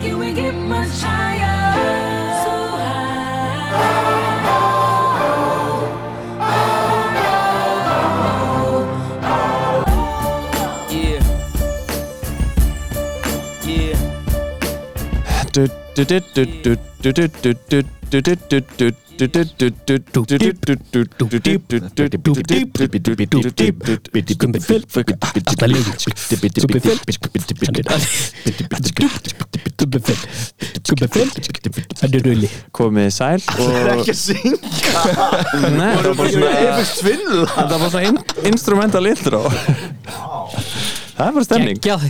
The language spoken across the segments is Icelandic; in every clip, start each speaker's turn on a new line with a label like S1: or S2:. S1: Can we get much higher? So high.
S2: Yeah. Yeah.
S3: Þetta er rulli
S4: komið í sæl og
S5: ekki að syngja
S4: Nei, það var bara svona
S5: svindla
S4: það var svona in- instrumental intro það er bara stemning
S3: Geggjað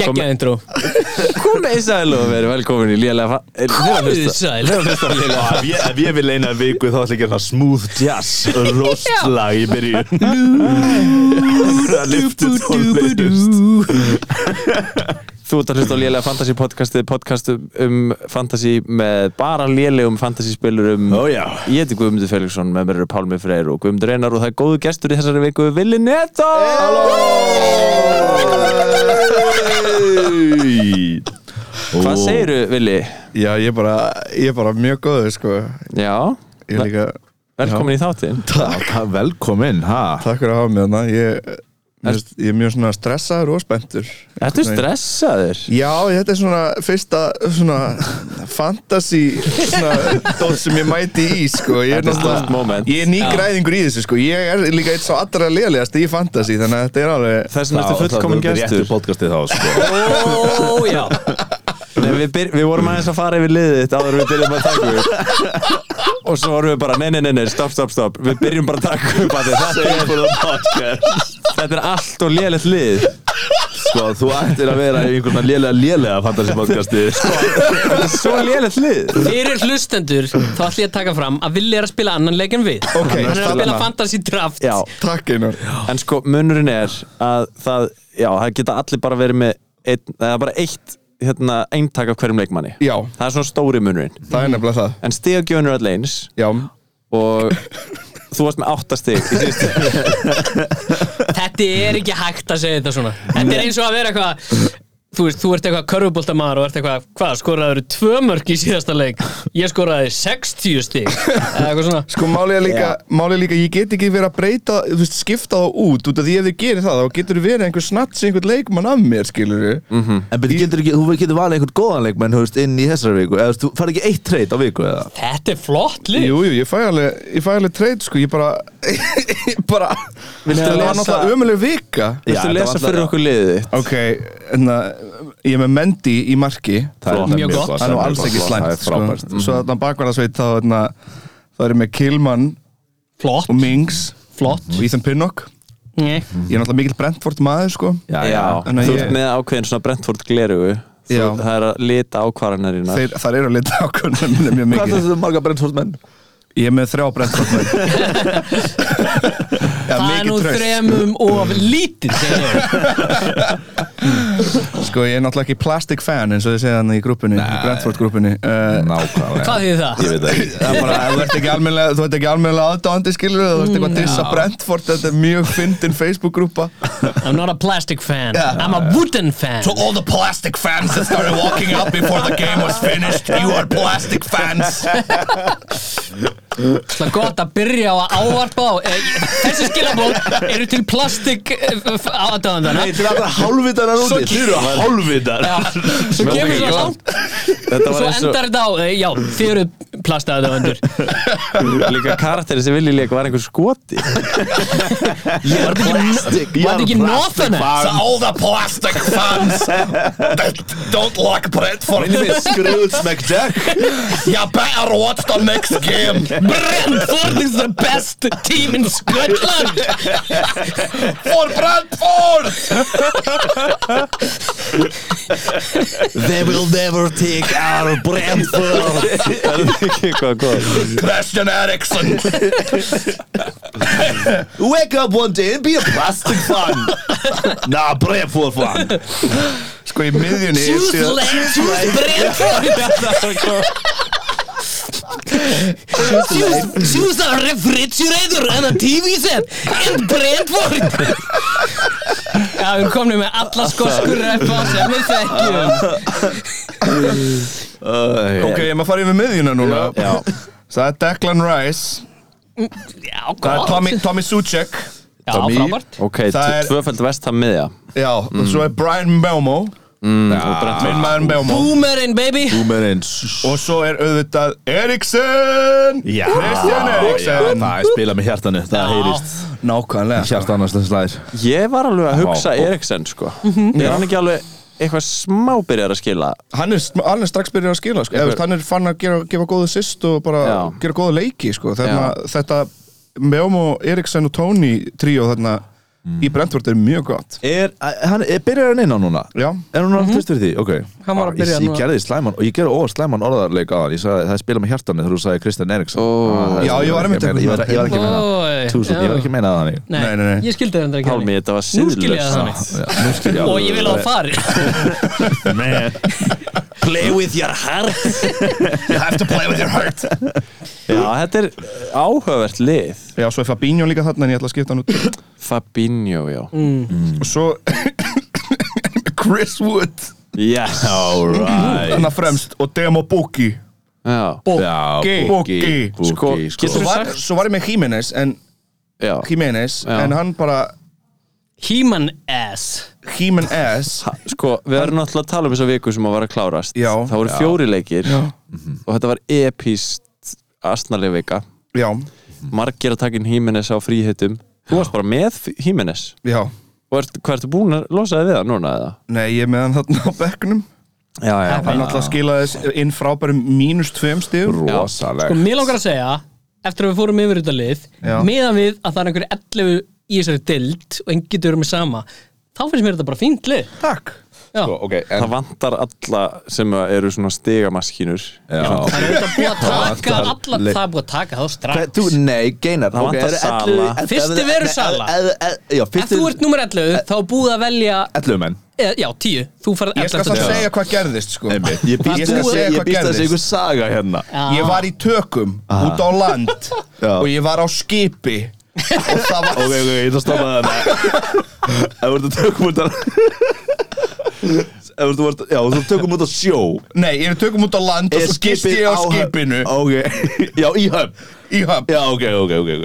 S3: Geggjað intro
S4: komið í sæl og verið velkomin í lélega
S3: Komið þið sæl
S5: ef ég, ef ég vil eina viku þá ætla ég að gera það smooth jazz rostlag í byrjun að lyftu tónleikust
S4: Þú ert að hlusta á lélega fantasy podcastið podcast um, um fantasy með bara lélegum um fantasy spilurum
S5: Ó, já.
S4: Ég heiti Guðmundur Felixson, með mér eru Pálmi Freyr og Guðmundur Einar og það er góðu gestur í þessari viku Vili Neto Hvað segiru Vili?
S6: Já, ég er bara, ég er bara mjög góður sko
S4: Já,
S6: Ég er líka,
S4: velkomin í þáttinn
S5: velkomin ha
S6: takk fyrir að hafa mig þarna Ég, mér finnst- ég er mjög svona stressaður og spenntur
S4: Ertu stressaður?
S6: Já, þetta er svona fyrsta svona fantasy svona dót sem ég mæti í sko Ég er
S4: Þetta er stórt moment.
S6: ég er nýgræðingur í þessu sko Ég er líka eitt svo allra lélegast í fantasy þannig að þetta er alveg
S4: Þess vegna ertu fullkomin gestur
S5: podcastið þá sko.
S3: Ó já
S4: Nei, við, byr, við vorum aðeins að fara yfir liðið þitt áður en við byrjum að taka upp og svo vorum við bara, nei, nei, nei, nei, stopp, stopp, stopp við byrjum bara að taka upp að þetta,
S5: Save for the podcast
S4: þetta er allt og lélegt lið
S5: sko, þú ættir að vera í einhvern lélega lélega fantasy podcasti sko.
S4: þetta er svo lélegt lið
S3: Fyrir hlustendur Þá ætlum ég að taka fram Að vilja er að spila annan leik en við
S6: Ok,
S3: Hann er að spila
S6: þarna.
S3: fantasy draft
S4: já,
S6: Takk einar
S4: en sko munurinn er að það, já, það geta allir bara verið með einn, það er bara eitt hérna, eintak af hverjum leikmanni
S6: Já,
S4: það er svona stóri munurinn,
S6: það er nefnilega það
S4: en stigagjöfun er allir eins
S6: Já,
S4: og þú varst með áttastig í síðustu
S3: Þetta er ekki hægt að segja þetta svona Þetta er eins og að vera eitthvað Þú veist, þú ert eitthvað körfuboltamar og ert eitthvað Hvað, skoraður tvö mörg í síðasta leik Ég skoraði 60 stig Eða eitthvað svona
S6: Sko málið er líka, málið er líka, ég get ekki verið að breyta, þú veist, skipta þá út út af því ef þið gerir það, þá getur þið verið einhver snats einhvern leikmann af mér, skilur við
S5: en betur, getur ekki, þú getur valið einhvern góðan leikmenn höfst, inn í þessari viku eða þú veist, þú farið ekki eitt treyt á viku eða
S3: Þetta er flott lið
S6: Jú, jú, ég fæ alveg, ég fæ alveg treyt, sko, ég bara, ég bara,
S4: Viltu
S6: það
S4: lesa-
S6: var náttúrulega ömuleg vika
S4: Viltu
S5: þetta
S4: lesa
S5: var
S4: fyrir
S5: alltaf-
S4: okkur liðið þitt?
S6: Ok, en uh, ég er með Mendy í marki,
S5: Það er
S3: Flott. Mjög gott.
S6: það er nú alls
S5: Það
S6: ekki
S5: er
S6: slæmt, sko,
S5: frábært
S6: svo þarna bakvarðasveit þá, þarna, það er ég með Kilman
S3: Flott,
S6: og Mings
S3: flott
S6: og Ethan Pinnock,
S3: Nei.
S6: ég er náttúrulega mikill Brentford maður, sko
S5: Já,
S4: Já,
S6: Þannig að
S4: þú
S6: ég-
S4: ert með ákveðin svona Brentford glerugu
S6: Já.
S4: Það er að lita ákvarðanarinnar
S6: Þeir, þar eru að lita ákvörðunum minni mjög
S5: Hvað
S6: mikið
S5: er þetta marga Brentford menn?
S6: Ég er með þrjá brentfólkmenn Já,
S3: Það er
S6: mikið
S3: nú
S6: tröst
S3: þremum of lítið segi ég.
S6: Sko, ég er náttúrulega ekki plastic fan eins og þið segja hann í grúpunni, brentfólt grúpunni uh,
S5: Nákvæmlega
S3: Hvað þýðir það?
S5: Ég veit það ekki
S6: Það er bara, ef þú ert ekki almennilega Þú ert ekki almennilega aðdáðandi skilur Þú ert
S7: Mm,
S6: eitthvað að dissa Brentford Þetta er mjög fyndin Facebook-grúpa
S3: I'm not a plastic fan, I'm a wooden fan
S7: all the plastic fans that started walking out before the game was finished, you are plastic fans.
S3: Það er gott að byrja á að ávarpa á eh, Þessi skilabóð eru til plastik aðdáðandana
S5: Nei, til allra hálfvitar að núti Þeir eru hálfvitar
S3: Svo kemur svo langt
S4: Þetta var
S3: Svo
S4: eins og
S3: endar þetta á, eh, já, þið eru plastaðaðöndur
S4: líka karakterið sem Vili leik var einhver skoti
S3: Var þetta ekki, var þetta ekki northerner?
S7: So all the plastic fans that don't like Brentford,
S5: Skrúðs McDuck
S7: you better watch the next game.
S3: Brentford is the best team in Scotland
S7: For Brentford!
S5: They will never take our Brentford
S4: Það er ekki eitthvað góð
S7: Christian Eriksen.
S5: Wake up one day and be a plastic fan Nah, Brentford fan
S6: Sko, í miðjunni er
S3: Choose
S6: síðan-
S3: Lang, choose Brentford Choose, choose a refrigerator and a TV set in Brentford Já, við erum komnið með alla skoskur repa sem við þekkjum
S6: Ok, ég maður farið með miðjuna núna
S4: Já.
S6: Það er Declan Rice
S3: Já,
S7: Oh.
S6: Það er
S3: gott.
S6: Tommy, Tommy Suchek
S3: Já,
S6: Tommy.
S3: frábært
S4: Ok,
S6: Það er-
S4: tvöfald vestam miðja
S6: Já,
S7: Mm.
S6: og svo er Brian Belmo Minn
S7: Ah.
S6: maður Belmo
S3: Boomerinn, baby
S2: Boomerins
S6: Og svo er auðvitað Eriksen
S2: Já,
S6: Christian
S2: já,
S6: Eriksen
S2: það er spilað með hjartanu Það heyrist
S6: Nákvæmlega Hjarta annars þess læðir
S4: Ég var alveg að hugsa
S2: Vá.
S4: Eriksen sko Er hann ekki alveg eitthvað smá byrjar að skila
S6: Hann er sm- alveg strax byrjað að skila sko. Eða, veist, Hann er fann að gera, gefa góða sýst og bara
S4: Já.
S6: gera góða leiki sko. þarna,
S4: Já.
S6: Þetta Belmo, Eriksen og Tony tríó þarna í
S8: Mm.
S6: Brentford er mjög gott
S2: Er, hann, er byrjar hann inn á núna?
S6: Já.
S2: Er hún alveg fyrst fyrir því? Ok
S3: Mhm. Hann var að
S2: Ég-
S3: byrja
S2: Ég,
S3: núna.
S2: gerði slæman og ég gerði óvart slæman orðarleik að hann Ég sagði það er spilað með hjartanu þegar þú sagði Kristján Eriksson oh.
S6: Já, ég var einmitt
S2: Ég var ég var ekki að meina það
S3: Ói,
S2: Túsund, ég var ekki að meina það þannig
S3: Nei,
S6: Nei, nei, nei.
S3: ég skildi þetta ekki
S4: Pálmi,
S3: þannig.
S4: þetta var
S3: Nú skil ég það
S4: síðlust
S3: þannig
S2: Já, nú skil ég
S3: Og
S2: alveg.
S3: ég vil að það fari
S4: Play with your heart
S8: You have to play with your heart.
S4: Já, þetta er áhugavert lið
S6: Já, svo er Fabinho líka þarna en ég ætla að skipta hann út
S8: Mm.
S4: Fabinho, já
S3: Mm.
S6: Og svo Chris Wood
S4: Yes
S2: Alright
S6: Þarna fremst og Demo Buki
S4: Já,
S2: Já,
S6: Buki.
S4: Sko,
S2: Búki
S4: getur
S6: svo,
S2: sko.
S4: þú-
S6: var- svo var ég með Jimenez en,
S4: já
S6: Jimenez,
S4: Já.
S6: en hann bara
S3: He-Man ass
S6: Jimenez
S4: Ha- Sko, við erum náttúrulega að tala um þessa viku sem að vera að klárast
S6: Já.
S4: Það voru fjóri leikir Mhm. og þetta var epíst astnaleg vika
S6: Já,
S4: Margir að taka inn Hímenes á fríhittum Þú varst bara með Hímenes
S6: já
S4: og ert, hvað ertu búin að losa þig við það núna eða?
S6: Nei, ég er með hann þarna á bekknum
S4: Já, já,
S6: Hann alltaf skilaði inn frábærum mínus tveim stíðum
S3: Sko,
S2: Rosaleg
S3: mér langar að segja, eftir að við fórum yfir þetta lið,
S6: Já.
S3: meðan við að það er einhver 11 í þessari dild og engin getur með sama, þá finnst mér þetta bara fínt lið.
S6: Takk
S3: Já.
S2: Sko, ok, en
S4: Það vantar alla sem að eru svona stigamaskínur
S2: Já.
S4: Svona-
S3: Það er auðvitað búið að taka
S2: vantar
S3: alla,
S2: lið.
S3: það er búið að taka þá
S2: Hva-
S3: strax.
S2: Þú, nei, geinar
S4: Það vantar Sala.
S3: Fyrsti veru Sala.
S2: Já,
S3: Ef þú ert
S2: fyrsti
S3: nummer
S6: Eh.
S3: 11, þá er búið að velja,
S2: 11 menn
S3: eða, já, 10, þú farið
S6: Ég
S3: 11.
S6: skal samt
S3: Já.
S6: segja hvað gerðist sko
S2: Einmitt. Ég býst að
S6: Ég skal
S2: segja-
S6: segja
S2: ég
S6: hvað
S2: býst að segja
S6: gerðist.
S2: einhver saga hérna
S6: Ég var í tökum út á land
S2: Já.
S6: og ég var á skipi og það
S2: Ok,
S6: var
S2: ok, ég ætla að stoppa það hérna Ef þú ert að tökum út að Ef þú ert Já, þú tökum út að sjó
S6: Nei, ég er í tökum út á land og
S2: Er
S6: svo gist
S2: skipið
S6: ég á
S2: höfn?
S6: skipinu
S2: Ok, já, í höfn
S6: í höfn
S2: Já, ok, ok, ok, ok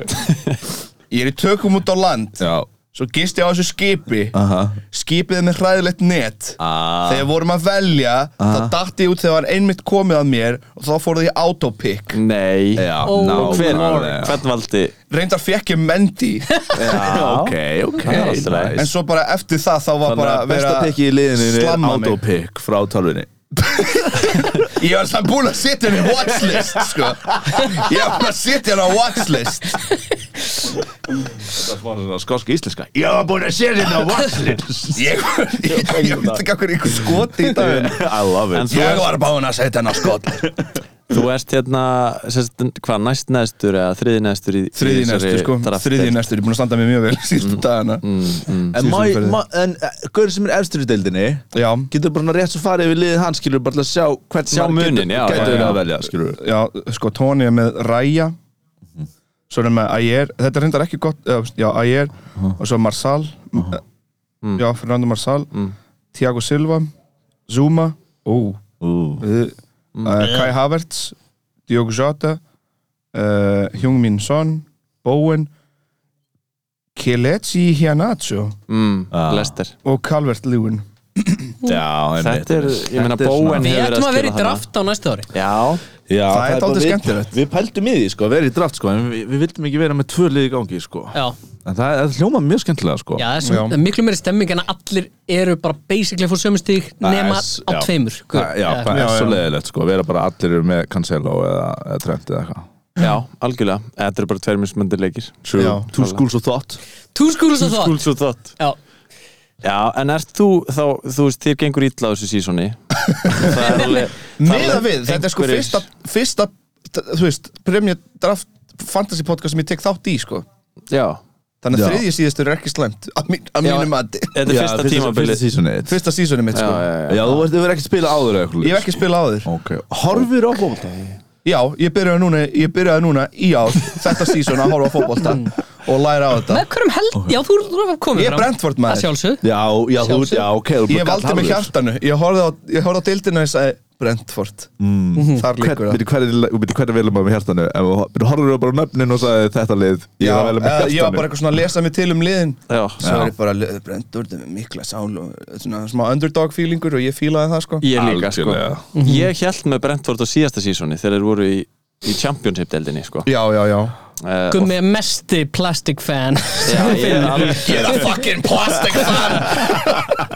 S6: Ég er í tökum út á land
S2: Já
S6: Svo gist ég á þessu skipi
S2: Aha.
S6: Skipið er með hræðilegt net
S2: Ah.
S6: Þegar vorum að velja þá datt ég út þegar var einmitt komið að mér og þá fór það í autopick
S4: Nei
S2: Já,
S3: Ó,
S2: ná
S4: Og hver,
S2: nákvæmlega.
S4: hvern valdi
S6: Reyndar fekk ég Mendy
S2: Já, ok, ok
S4: Það er allt í lagi.
S2: nice.
S6: En svo bara eftir það þá var bara
S2: Bara
S6: verið
S2: besta
S6: að
S2: pikki í liðinu er
S6: slamma mig.
S2: autopick frá tölvunni
S6: Ég var samt búin að setja henni watchlist sko. Ég var búin að setja henni á watchlist
S2: Skoska íslenska Ég var búin að sé þetta á watchlist
S6: Ég, ég, ég veit ekki okkur ykkur skoti í dag
S2: I love
S4: En
S2: it
S4: þú,
S6: Ég
S4: er,
S6: var búin að setja henni á skot
S4: þú ert hérna sérst, hvað, næst neðstur eða þriði neðstur í, í
S6: Þriði
S4: þessari
S6: næstur sko
S4: draft
S6: Þriði
S4: deild?
S6: næstur, ég er búin að standa mig mjög vel síðustu dagana
S2: En, má, ég- má, en Gaurin sem er efstur í deildinni
S6: Já,
S2: Getur bara rétt svo farið við liðið hans Skilur bara til að sjá hvern
S4: Sjá muninn, já, já,
S2: Gætu
S4: já.
S2: við að velja, skilur við
S6: já, sko Tony er með Raya
S2: Mhm.
S6: Svo er hann með Ayer Þetta er reyndar ekki gott eh, Já, Ayer Og svo Marsal
S2: Mm.
S6: Já, Fernando Marsal Thiago Silva Zuma Ó, uh,
S2: Mm.
S6: Kai Havertz Diogo Jota uh, Hjungmin Son Bowen Kelechi Hianacho
S4: mm, Lester
S6: og Calvert Lewin
S2: Já, einmitt
S4: Þetta er, ég meina,
S2: Þetta er
S4: Bowen
S3: Við
S4: hefur verið
S3: ætlum að vera í
S4: spila þarna.
S3: draft á næsta ári.
S4: Já,
S2: já,
S6: Það er
S2: bara-
S6: dálítið
S2: við-
S6: skemmtilegt.
S2: Við pældum í því, sko, að vera í draft, sko En við, við vildum ekki vera með tvö liði í gangi, sko
S3: Já,
S2: En það, það hljóma mjög skemmtilega, sko
S3: já, það er svo,
S6: Já.
S3: það er miklu meiri stemming en að allir eru bara basically fór sömu stík nema
S2: s-
S3: á
S2: já.
S3: tveimur. Eh,
S2: Hvað- Já,
S3: Eða-
S2: það
S6: Ah, Já,
S2: er svo
S6: já.
S2: leiðilegt, sko Vera bara allir eru með Cancelo eða, eða Trent eða eitthvað
S4: já, algjörlega Þetta eru bara tveir mismöndir leikir
S2: True,
S6: Já.
S2: two schools of thought
S3: Two schools of thought.
S4: Skúls og þátt
S3: Já,
S4: Já, en ert þú þá, þú veist, þér gengur illa á þessu sísoni Það er alveg
S6: Meða við, þetta er sko
S4: einhverjir-
S6: fyrsta, fyrsta þú veist, Premier Draft Fantasy podcast sem ég tek þátt í sko
S4: Já,
S6: Þannig
S2: Já.
S6: að þriðji síðastur er ekki slæmt að mín, að
S4: Já.
S6: mínu mati
S4: þetta er fyrsta tímabilið
S2: Fyrsta seasonið
S6: Fyrsta sísoni mitt sko
S4: Já, já, já.
S2: Já, þú ert- þú verður ekki spila áður eða eitthvað sko.
S6: Ég hef ekki spilað áður
S2: Ok, horfir á fólk
S6: Já, ég byrjaði núna, ég byrjaði núna í ár þetta sísón að horfa á fótbolta og læra á þetta
S3: Með hverjum held, já þú þú erum komið
S6: Ég er Brentford
S3: Það
S6: maður
S3: sjálfsög
S5: Já, já, þú,
S3: Sjálfsögð.
S5: já, ok þú bara
S6: Ég valdi
S5: gat
S6: með
S5: alveg.
S6: hjartanu Ég horfði á, ég horfði á dildinu og ég sagði Brentford Þar líkur það
S5: Hvernig hvernig velum maður með um hjartanu? Ef þú horfður bara á nöfnin og sagði þetta lið Ég
S6: Já,
S5: var velum með
S6: eh,
S5: hjartanu
S6: ég var bara eitthvað svona að lesa mig til um liðin
S4: Já.
S6: Svo er ég bara li- Brentford er með mikla sál og svona smá underdog feelingur og ég fílaði það sko
S4: Ég líka sko
S5: Algjörlega.
S4: Ég held með Brentford á síðasta sísoni þegar þeir voru í, í Championship-deldinni sko
S6: Já, já, já
S4: Eh,
S3: Gummi er mesti plastic fan
S4: og- Já, ég, er alveg-
S7: You're the fucking plastic fan.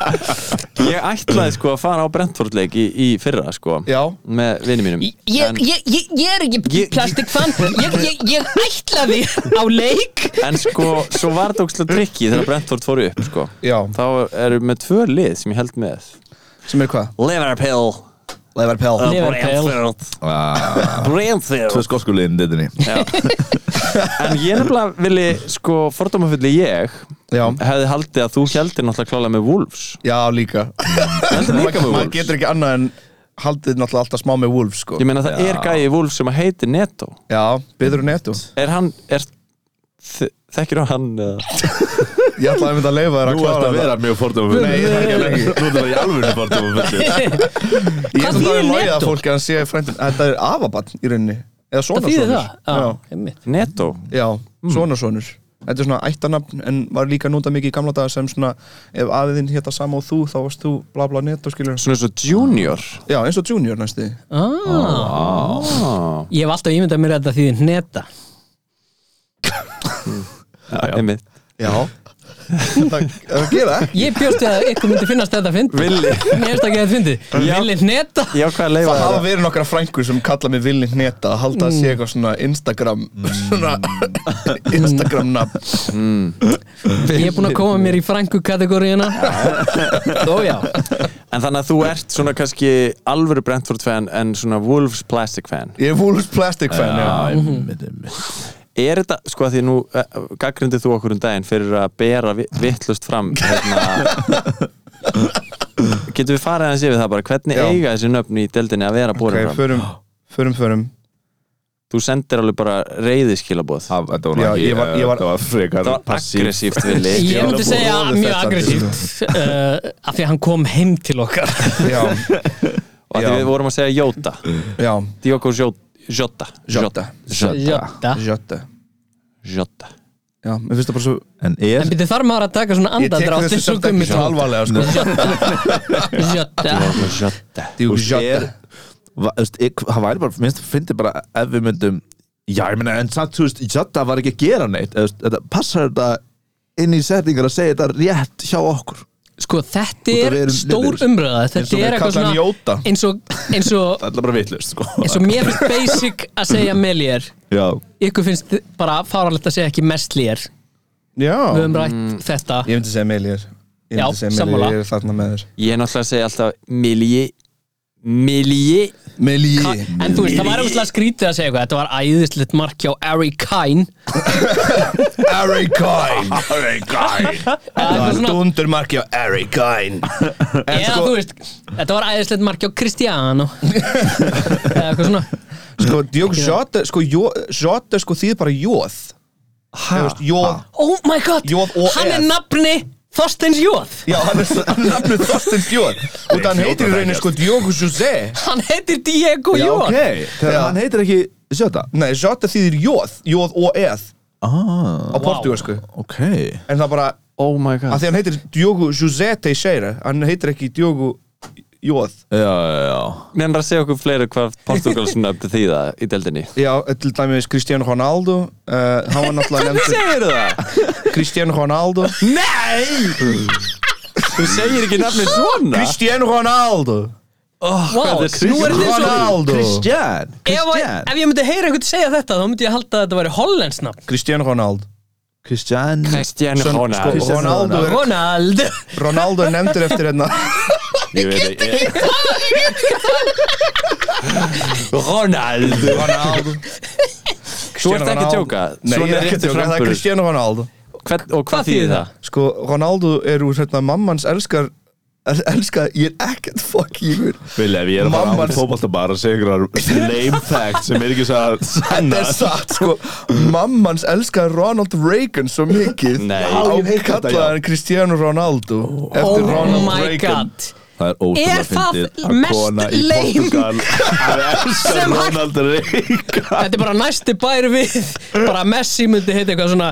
S4: ég ætlaði sko að fara á Brentford-leik í, í fyrra sko
S6: Já.
S4: með vinni mínum
S3: Ég, ég, ég, ég er ekki
S4: Ég-
S3: plastic fan Ég, ég, ég ætlaði á leik
S4: En sko, svo var þetta ógstlega trikki þegar Brentford fóru upp sko
S6: Já,
S4: Þá eru með tvö lið sem ég held með
S6: sem er hvað?
S4: Liverpool
S6: Leverpel
S4: og
S3: Liverpool.
S4: Brentford Brentford
S5: Tvö skoskulinn, þetta niður
S4: En ég nefnilega vilji, sko, fordómafulli ég
S6: Já,
S4: hefði haldið að þú heldir náttúrulega klálega með Wolves
S6: já líka
S4: heldur líka með
S6: Maður
S4: Wolves
S6: getur ekki annað en haldið náttúrulega alltaf smá með Wolves sko
S4: Ég meina það er gæi í Wolves sem að heiti Neto
S6: Já, byður hún ettu
S4: Er hann, er þe- þekkir á hann eða?
S6: Ég ætlaði að mynda að leifa þér
S5: Nú
S6: að
S5: ert
S6: klára
S5: að
S6: það
S5: vera mjög fordóma fyrir
S6: Nei, ég er ekki að lengi.
S5: Nú ert að vera í alvöru fordóma fyrir
S6: Ég
S3: Hvað
S6: ætlaði að
S3: þýðir
S6: læða að
S3: Neto?
S6: fólki að hann sé frændin Þetta er afabann í rauninni Eða
S3: Það
S6: svona
S3: þýðir
S6: sonur
S3: það Já, einmitt.
S4: Neto?
S6: Já, svona sonur Þetta er svona ættanafn en var líka notað mikið í gamla daga sem svona ef aðeinn hétta sama og þú þá varst þú bla bla netto skilur
S4: Svona svo junior
S6: Já, eins og junior næstu
S3: ah,
S4: ah,
S3: Ég hef alltaf ímyndað mér að þetta þýðir neta
S4: einmitt
S6: Já Það það gera ekki
S3: Ég bjóst við að ykkur myndi finnast þetta að fyndi
S4: Villi.
S3: Mér finnst ekki að þetta fyndi
S4: Já.
S3: Villi neta
S4: Já, hvað að leifa
S6: Það hafa
S4: það?
S6: verið nokkra frængur sem kalla mig Villi Hneta að halda að sé eitthvað svona Instagram svona Instagram nafn
S3: Ég er búin að koma mér í frængu kategóriðina Þó já
S4: En þannig að þú ert svona kannski alvöru Brentford fan en svona Wolves plastic fan
S6: Ég er Wolves Plastic fan, já
S4: Er þetta, sko að því nú uh, gaggrindið þú okkur um daginn fyrir að bera vi- vittlust fram hérna Getum við farið aðeins yfir það bara hvernig
S6: Já.
S4: eiga þessi nöfn í deldinni að vera borin
S6: Ok,
S4: fram?
S6: förum, förum, förum
S4: Þú sendir alveg bara reyðiskilabóð Það
S5: Þetta var nú
S6: Já,
S5: ekki,
S6: ég var- ég var-
S5: þetta var frekar
S4: var
S5: passív.
S4: aggressíft villi
S3: Ég myndi segja
S6: Skilaboð
S3: mjög
S6: þetta.
S3: aggressíft uh, af því að hann kom heim til okkar
S6: Já,
S4: og að því
S6: Já.
S4: við vorum að segja Jóta
S6: já,
S4: Diogo Jóta
S6: Jota
S3: Jota
S6: Jota
S4: Jóta
S6: Já, mér finnst það bara svo
S5: En
S3: En
S5: er
S3: byrju þar maður að taka svona
S6: Ég tek
S3: andadrátt
S6: þessu
S3: eins og
S6: samt ekki
S3: Gummi
S6: svo
S3: tók.
S6: alvarlega sko
S3: Jota
S4: Jóta
S6: Djú,
S5: Þú
S6: Jota
S5: er va- þú veist, ég- Það væri bara, minnst fyndi bara ef við myndum Já, ég meina, en samt, þú veist, Jota var ekki að gera neitt eða, þú veist, þetta, Passar þetta inn í settingar að segja þetta rétt hjá okkur
S3: Sko þetta
S5: Út af
S3: er
S5: við erum
S3: stór
S5: liðir.
S3: umröða
S6: Eins og
S3: Þetta
S6: við
S3: er eitthvað
S6: kalla hann Jóta.
S3: svona eins og, eins, og,
S5: Það er bara vitlust, sko
S3: eins og mér finnst basic að segja melýr
S5: Já,
S3: Ykkur finnst bara fáralegt að segja ekki mestlýr Við
S6: Já
S3: höfum rætt þetta
S6: Mm. Ég myndi segja Melier Ég
S3: Já,
S6: myndi segja
S3: sammála.
S6: Melier, ég er þarna með þér
S4: Ég er náttúrulega að segja alltaf Milji Milji
S6: Melier
S3: En þú veist, það var umslega skrítið að segja eitthvað Þetta var æðislegt mark hjá Ari Kine
S6: Harry er Kine
S7: Harry Kine.
S3: Eða eitthvað er svona-
S6: Dundurmarki á Harry Kine
S3: Eða þú veist, þetta var æðislegt mark hjá Cristiano Eða eitthvað svona
S6: Sko, Djúk Jota, sko, jo- Jota, sko, þýð bara jóð Þú veist, jóð
S3: Oh my god,
S6: Jóð og
S3: hann er
S6: ef.
S3: nafni Þorsteins Jóð
S6: Já, hann er hann er nafnið Þorsteins Jóð Og það hann heitir í rauninni, sko, Djúk Jose
S3: Hann heitir Diego
S6: Já,
S3: Jóð
S5: ok, þegar
S6: Já.
S5: hann heitir ekki Jota
S6: Nei, Jota þýðir jóð, jóð og eð
S5: ah,
S6: Á portugalsku
S5: Ok
S6: En það bara,
S4: Oh my god
S6: að því hann heitir Diogo José Teixeira Hann heitir ekki Diogo Jóð
S5: Já, já, já
S4: Menn að segja okkur fleiri hvað Portugalsson öfndi þýða í deldinni
S6: Já, til dæmis Cristiano Ronaldo uh, Hann var náttúrulega nefndur
S4: Segir það?
S6: Cristiano Ronaldo
S4: Nei! Þú segir ekki nafnið svona
S6: Cristiano Ronaldo
S3: Wow,
S4: Hvað er
S3: nú er þetta eins og
S6: Ronaldo
S5: Christian,
S3: ef,
S5: Christian
S3: ef ég myndi heyra einhvern segja þetta þá myndi ég halda að þetta væri Hollands nafn
S6: Cristiano Ronaldo
S5: Christian
S4: Christian
S6: Svo-
S4: Ronald
S6: sko,
S5: Cristiano
S6: Ronaldo er,
S3: Ronald
S6: Ronaldo er nefndur eftir hérna
S5: Ég veit ekki
S4: Ronald
S6: Ronaldo
S4: Þú ert ekki að tjóka
S6: Nei, ég
S4: Svona
S6: er ekki að
S4: réttur
S6: tjóka, það er
S4: framburður.
S6: Cristiano Ronaldo
S4: Hvern- Og hvað þýðir það?
S6: Sko, Ronaldo er úr hérna mammans elskar
S5: el- elska, ég er ekkert fucking
S2: Vilja, ef ég er að fara
S5: Mamma-
S2: á fótballtabar að segja einhverjar lame facts sem er ekki svo að
S5: Þetta
S2: sanna
S5: er satt sko Mammans elskaði Ronald Reagan svo mikið
S4: Nei. Já,
S5: Á
S6: Ég hef heyrt þetta, já.
S5: kallaðan
S6: Kallaði hann Cristiano Ronaldo
S3: Oh
S6: eftir Ronald
S3: my
S6: Reagan
S3: god
S2: Það er
S3: Er það
S2: ótrúlega fyndið
S3: mest lame sem
S2: sem
S3: hægt-
S2: Ronald Reagan
S3: Þetta er bara næsti bær við Bara Messi myndi heita eitthvað svona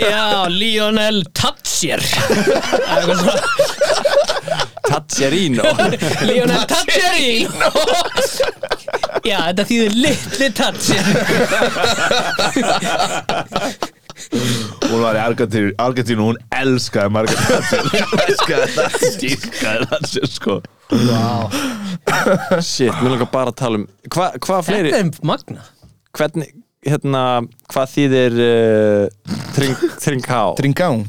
S3: Já, Lionel Tatcher Eitthvað svona
S4: Tatjarino
S3: Lionel Tatcherino Já, þetta þýðir litli Tatcher
S2: Hún var í Argentínu, Argentínu hún elskaði Margaret Thatcher Elskaði Thatcher Elskaði Thatcher sko
S4: Shit, mér langar bara að tala um Hva- Hvað fleiri,
S3: Þetta er magna
S4: hvernig, hérna Hvað þýðir uh, Tring, Tringhá?
S6: Dringán,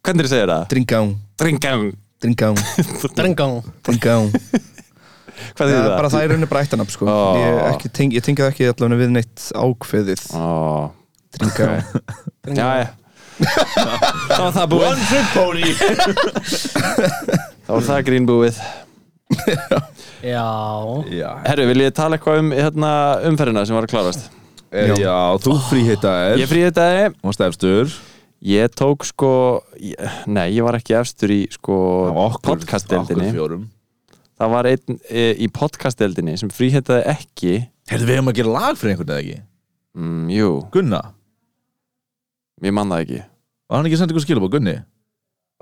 S4: Hvernig þið segir það?
S6: dringán,
S4: Tringang
S6: dringán,
S3: Drengá
S6: dringán
S4: Hvað
S6: Það
S4: þýðir
S6: er bara
S4: það?
S6: það í rauninni bara eittanab sko
S4: Ó.
S6: Ég, ekki teng, ég tengi það ekki allavega við neitt ákveðið Sko.
S4: Ó,
S6: Dringán
S4: já, já Það var það búið
S2: One trick pony
S4: Það var það grínbúið
S3: Já
S5: Já,
S4: Herru, vil ég tala eitthvað um hérna, umferðina sem var að klárast?
S2: Er- Eh, Já, þú fríhittaðir
S4: Ég fríði þetta
S2: Hún var stefstur
S4: Ég tók sko ég, Nei, ég var ekki efstur í sko podcastdeldinni
S2: fjórum
S4: Það var einn e, í podcastdeldinni sem fríheitaði ekki
S2: Herðu, við hefum að gera lag fyrir einhvern eða ekki?
S4: mm, Jú,
S2: Gunna
S4: ég man það ekki
S2: Var hann ekki að senda ykkur skilabóð, Gunni?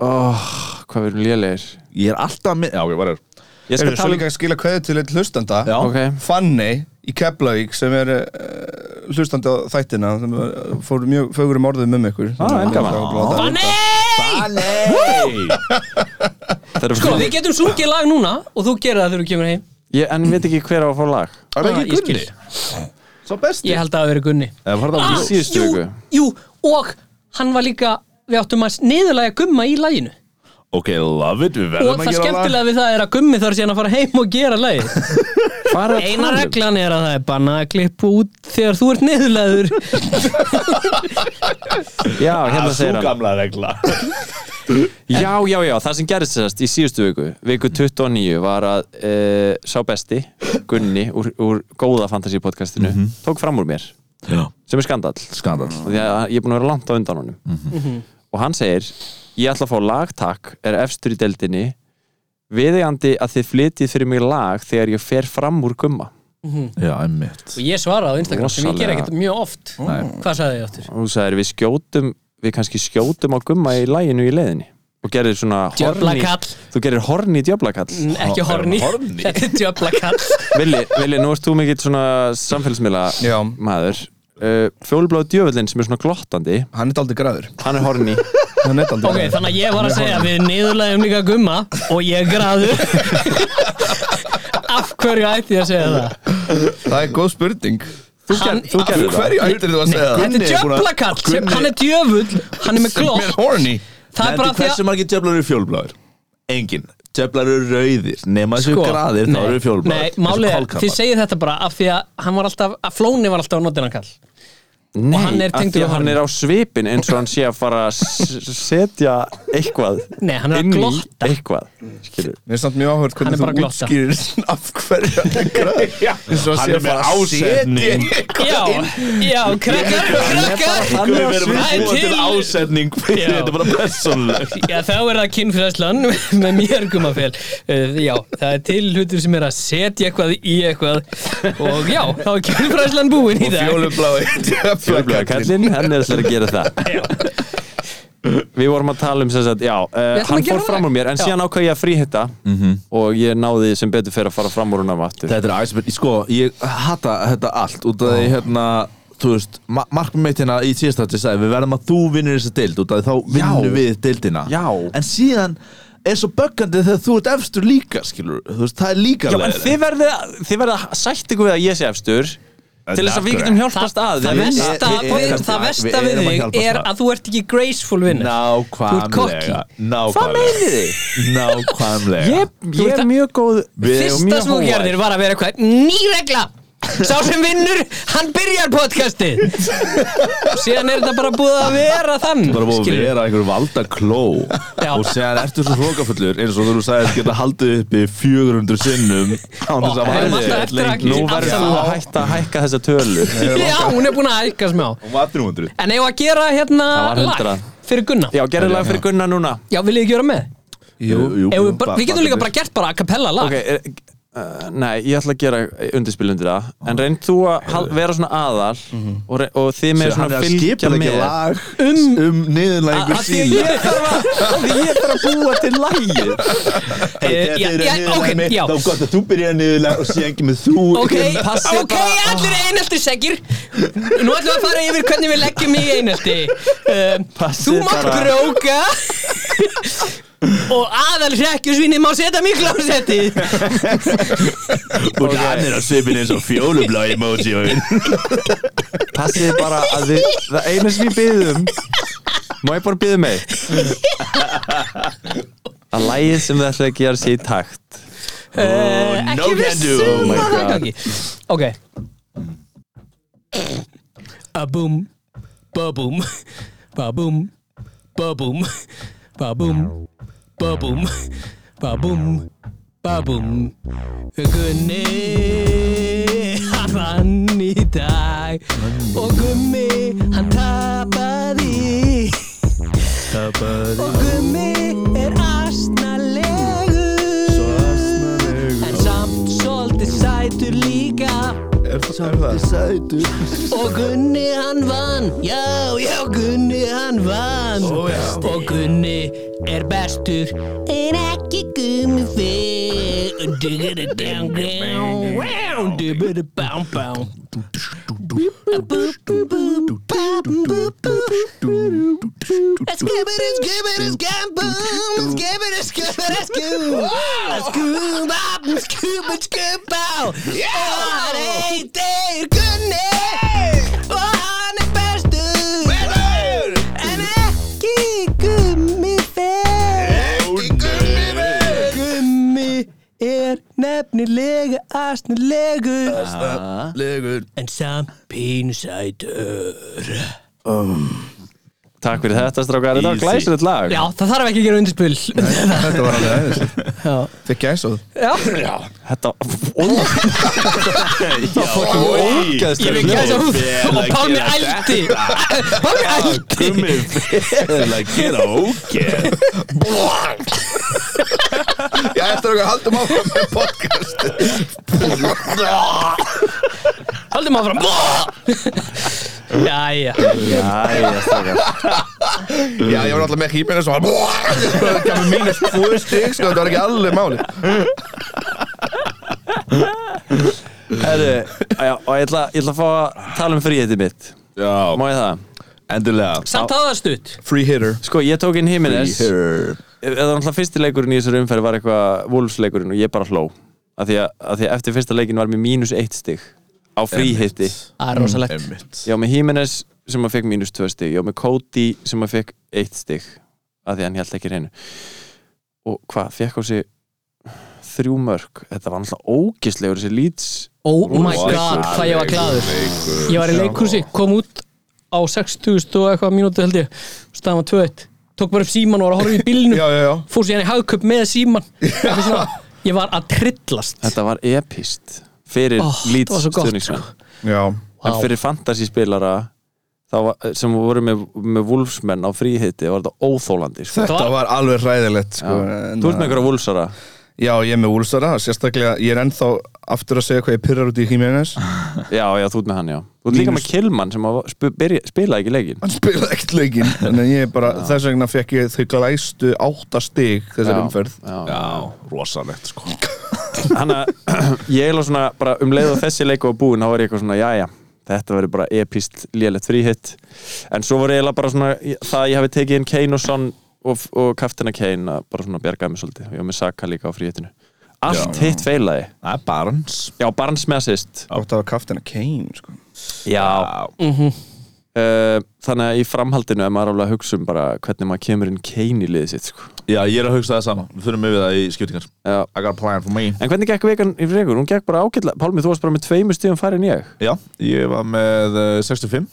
S4: oh, Hvað við erum lélegir
S2: Ég er alltaf með Já, ég var þér
S4: Ég
S6: Erum
S4: skal
S6: við svo
S4: tala um
S6: líka að skila kveðið til eitt hlustanda
S2: Já.
S4: Ok,
S6: Fanny í Keflavík sem er uh, hlustandi á þættina sem uh, fór mjög fögurum orðum um ykkur
S4: Ah, en gaman.
S3: Fanny!
S2: Nei
S4: það eru
S3: Sko,
S4: fyrir
S3: við getum sungið lag núna og þú gerir það þegar þú kemur heim
S4: ég, En ég veit ekki hver á að fá lag
S2: Er það ekki
S3: Ég skil.
S2: Gunni? Svo besti
S3: Ég held að það hafi verið Gunni
S2: Eða var það
S4: Ah!
S2: alveg
S4: síðustu
S3: jú,
S4: viku.
S3: jú, og hann var líka Við áttum að niðurlega gumma í laginu
S2: Ok, love it, við
S3: Og
S2: verðum að
S3: það
S2: gera lag
S3: skemmtilega við það er að gummi þarf síðan að fara heim og gera lagið
S4: Hvað er
S3: Eina reglan er að það er bannað að klippa út þegar þú ert niðurlegaður
S4: Já, hérna
S2: Ah, Sú
S4: segir hann
S2: gamla regla
S4: Já, já, já, það sem gerðist þessast í síðustu viku Viku 29 var að e, Sá besti, Gunni Úr, úr góða fantasy podcastinu Tók fram úr mér,
S2: Já,
S4: sem er skandall
S2: skandal
S4: Og Því að ég er búin að vera langt á undan honum Og hann segir Ég ætla að fá lagtakk, er efstur í deldinni Viðeigandi að þið flytið fyrir mig lag Þegar ég fer fram úr gumma
S2: Já, einmitt
S3: Og ég svaraði á Instagram sem ég ger ekkert mjög oft Hvað sagði ég áttur?
S4: og þú sagðir við skjótum við kannski skjótum á gumma í læginu í leiðinni og gerir svona horni
S3: Djöflakall.
S4: þú gerir horni djöflakall
S3: N- Ekki horni,
S2: horni?
S3: þetta er djöflakall
S4: Vili, Vili, nú ert þú mikill svona samfélagsmiðla
S6: Já.
S4: maður uh, fjólubláð djöfullin sem er svona glottandi
S6: Hann er aldrei græður
S4: hann er horni
S6: Hann er
S3: Ok,
S6: aldrei græður
S3: þannig að ég var að segja við niðurlegum líka gumma og ég græður Af hverju ætti ég að segja það?
S6: Það er góð spurning
S4: þú, ger,
S3: Hann-
S4: þú gerir það
S6: Hverju ættir þú að segja það?
S3: Þetta er djöflakall, sem- hann er djöfull Hann er með
S6: Sem er
S3: glótt
S6: horny
S3: Það er bara því
S2: Hversu
S3: að
S2: margir djöflar eru fjólbláður? Engin Djöflar eru rauðir Nema þessu
S3: Sko,
S2: graðir þá
S3: nei,
S2: eru fjólbláður
S3: Nei, málið er, þið segið þetta bara af því að hann var alltaf, að flóni var alltaf á nótina kall
S4: Nei,
S3: Og hann er
S4: af
S3: tengdur
S4: því að
S3: við
S4: hann
S3: horni.
S4: er á svipin eins og hann sé að fara að s- setja eitthvað
S3: Nei, hann er að
S4: inn í
S3: glotta.
S4: eitthvað skilur
S6: Mér er samt mjög áhverð
S3: Hann er
S6: hvernig
S3: bara að
S6: þú
S3: glotta.
S6: útskýrir af hverju hann er græður eins og að
S2: Hann
S6: sé
S2: er
S6: að
S2: með
S6: fara að
S2: ásetning.
S6: setja eitthvað
S3: Já, já, krakkar, krakkar
S4: hann
S2: Við
S4: er á
S2: verðum að
S3: svipinn.
S2: búa til
S3: Til-
S2: ásetning fyrir
S3: Já.
S2: þetta bara persónulegt
S3: Já, þá er það kynfræðslan með mér gummafél uh, Já, það er til hlutur sem er að setja eitthvað í eitthvað og já, þá er kynfræðslan búin í dag
S6: Fjólublái
S4: Fjólubláða kallinn, hann er alltaf að gera það Við vorum að tala um sem sagt, já, uh,
S3: ætlum
S4: hann
S3: að gera
S4: fór fram úr mér en
S3: Já.
S4: síðan ákvað ég að fríhitta og ég náði sem betur fyrir að fara fram úr húnum aftur
S2: Mhm. Þetta er æsbjörn, sko, ég hata þetta allt út af því hérna, þú veist, ma markmið mitt hérna í síðast þátti sagði við verðum að þú vinnir þessa deild út af því þá vinnum við deildina.
S4: Já.
S2: En síðan er svo böggandi þegar þú ert efstur líka, skilur, þú veist, það er líka
S4: Já, en þið verðið að- þið verðið að sætt ykkur við að ég sé efstur til þess að við getum hjálpast að
S3: Það
S4: Við-
S3: versta við,
S2: við- við-
S3: það
S2: við-
S3: versta
S2: við
S3: við
S2: erum að
S3: þig
S2: hjálpast
S3: er
S2: að.
S3: að þú ert ekki graceful vinnur
S2: Nákvæmlega.
S3: cocky.
S2: Nákvæmlega.
S3: Hvað meinið þið?
S2: Nákvæmlega.
S4: Ég, ég er mjög góð
S2: Við
S3: Fyrsta sem þú gerðir var að vera eitthvað ný regla sá sem vinnur, hann byrjar podcastið síðan er þetta bara búið að vera þann
S2: bara búið að
S3: skilurðu.
S2: vera einhver valda kló
S3: Já.
S2: og segja ertu svo hlokafullur eins og þú sagðist geta haldið uppi 400 sinnum án þess að
S3: Við erum
S2: væri
S3: alltaf eftir að-
S2: lengi
S4: Nú verður þú að hætta að hækka þessa tölu
S2: hérna.
S3: já, hún er búin að hækka smá
S2: hún var 300
S3: en eigum við að gera hérna
S4: Það var 100.
S3: lag fyrir Gunna
S4: Já, gerðu lag fyrir Gunnar núna
S3: já, viljið ekki vera með?
S2: jú, jú,
S3: Jú, við, bara, við getum líka bara gert bara a cappella lag
S4: Ok, er, uh, nei, ég ætla að gera undirspil undir það En reynd þú að hal- vera svona aðal og, re- og þið með
S2: hann
S4: svona
S2: er að
S4: fylgja
S2: skipa ekki
S4: með
S2: lag um, um
S3: Að-
S2: niðurlæðingu
S3: að því að
S2: sín
S3: ég þarf að
S4: Af Því ég þarf að búa til lagið
S3: Eh, já, já, ok, já.
S2: þá gott að þú byrja niðurlæðingu og sé ekki með þú
S3: Ok,
S2: Passið
S3: ok, allir einelti segir Nú ætlum við að fara yfir hvernig við leggjum í einelti um, Þú
S4: Passið
S3: mátt
S4: bara.
S3: gróka Og aðal hrekkjusvinni má setja mig glásetti
S2: og hann er að svipin eins og fjólublá emoji og
S4: Passið bara að þið, það einu sem ég byðum Má ég bara byða mig Að lagið sem þið ætla að gera sé í takt
S3: uh, Ekki
S2: no can do, oh
S3: vissum að
S2: my
S3: það
S4: God.
S3: gangi Ok
S2: À,
S3: A-boom Ba-boom Ba-boom Ba-boom Ba-boom Ba-boom Ba-boom Ba-boom Gunni Hann vann í dag Og Gummi Hann tapaði Tapaði Og Gummi er asnalegur Svo En samt svolítið sætur líka
S6: Er það- er það?
S3: Og Gunni hann vann Já, já, Gunni hann vann Og Gunni er bestur En ekki Gummi fyrr Dugudu-dum-dum Dugudu-bám-bám Skibber and skibber and skambum Skibber and skibber and skibber Skúb up and skúb and skúb á Og hann heitir Gunni Og hann er bestur Bestur En ekki gummi fer Gummi er nefnilega asnilegur
S2: legur
S3: En samt pínsætur
S4: Takk fyrir þetta strákar, þetta var
S2: Easy.
S4: glæsilegt lag
S3: Já, það þarf ekki að gera undirspil
S6: Þetta var alveg aðeins Þið gæsóð
S3: Já,
S4: Þetta Það var fokkin
S3: ég
S4: ógæðslega
S3: veit gæsa húð
S2: Vel
S3: og
S2: að
S3: Pálmi
S2: gera
S3: ældi Pálmi ældi
S2: Gummi fyrir að gera ógeð
S6: Já, eftir okkar haldum áfram með podcast
S3: Haldum áfram Jæja
S4: Jæja, strákar
S6: Já, ég var alltaf með hýpina svo Það kemur mínus tvö stig, sko, þetta var ekki alveg máli
S4: Herru, já, og ég ætla, ég ætla að fá að tala um fríheiti mitt
S2: já,
S4: Má ég það?
S2: endilega
S3: Samt hafa það stutt
S6: Free hitter
S4: Sko, ég tók inn Jimenez
S2: Here.
S4: Það var alltaf fyrsti leikurinn í þessari umferð var eitthvað Wolfsleikurinn og ég bara hló af því að, af því að eftir fyrsta leikin var mér mínus eitt stig á fríhitti
S3: Það er rosalegt
S2: Einmitt.
S4: Ég var með Jimenez sem að fekk mínus tvö stig Ég var með Cody sem að fekk eitt stig af því að hann held ekki reynu og hvað, fekk á sig þrjú mörg, þetta var alltaf ógislegur þessi lýts
S3: Oh my
S2: Leikur.
S3: god, hvað ég var glaður
S2: Leikur.
S3: Ég var í leikhúsi, kom út á 6000 og eitthvað mínútu held ég Staðan var 2-1 Tók bara upp síman og var að horfa í
S6: Já,
S3: bílnum
S6: já, já
S3: Fór sér í hagköp með síman Eitthvað svona. Ég var að trillast
S4: Þetta var epist fyrir
S3: Ó,
S4: oh, lýts
S3: þetta var svo gott, sko.
S4: stuðningsmenn
S6: Já,
S4: en
S3: Vá.
S4: fyrir fantasíspilara þá var- sem voru með, með vúlfsmenn á fríhitti var þetta óþólandi sko.
S6: þetta var alveg hræðilegt, sko en
S4: Þú ert með einhverja vúlsara
S6: Já, ég er með Úlsara, sérstaklega Ég er ennþá aftur að segja hvað ég pyrrar út í Jiménez
S4: Já, já, þú ert með hann, já Þú ert líka
S6: Mínus-
S4: með Kilmann sem að sp byrja, spila ekki leikin
S6: Hann spilaði ekkert leikinn En ég er bara, þess vegna fekk ég þau glæstu átta stig þessar umferð
S4: já.
S2: Já, rosalegt sko
S4: Hanna, ég er alveg svona bara um leið og þessi leiku var búinn þá var ég eitthvað svona, já, já Þetta verður bara epist lélegt fríhitt En svo var ég eiginlega bara svona það að ég hafi tekið inn Kane og Son og, og kaftina Kane að bara svona bjargaði mig svolítið og ég var með Saka líka á fríhittinu Allt hitt feilaði
S2: Það er Barnes
S4: Já, Barnes með assist
S6: Átt að hafa kaftina Kane, sko
S4: Já, uh, þannig að í framhaldinu er maður alveg að hugsa um bara hvernig maður kemur inn Kane í liðið sitt sko.
S2: Já, ég er að hugsa það sama Við fyrir mig við það í skiptingar
S4: Já.
S2: I got a plan for me
S4: en hvernig gekk vegan í regur? hún gekk bara ágætlega Pálmi, þú varst bara með tveimu stíðum færið en ég
S2: Já, ég var með eh, 65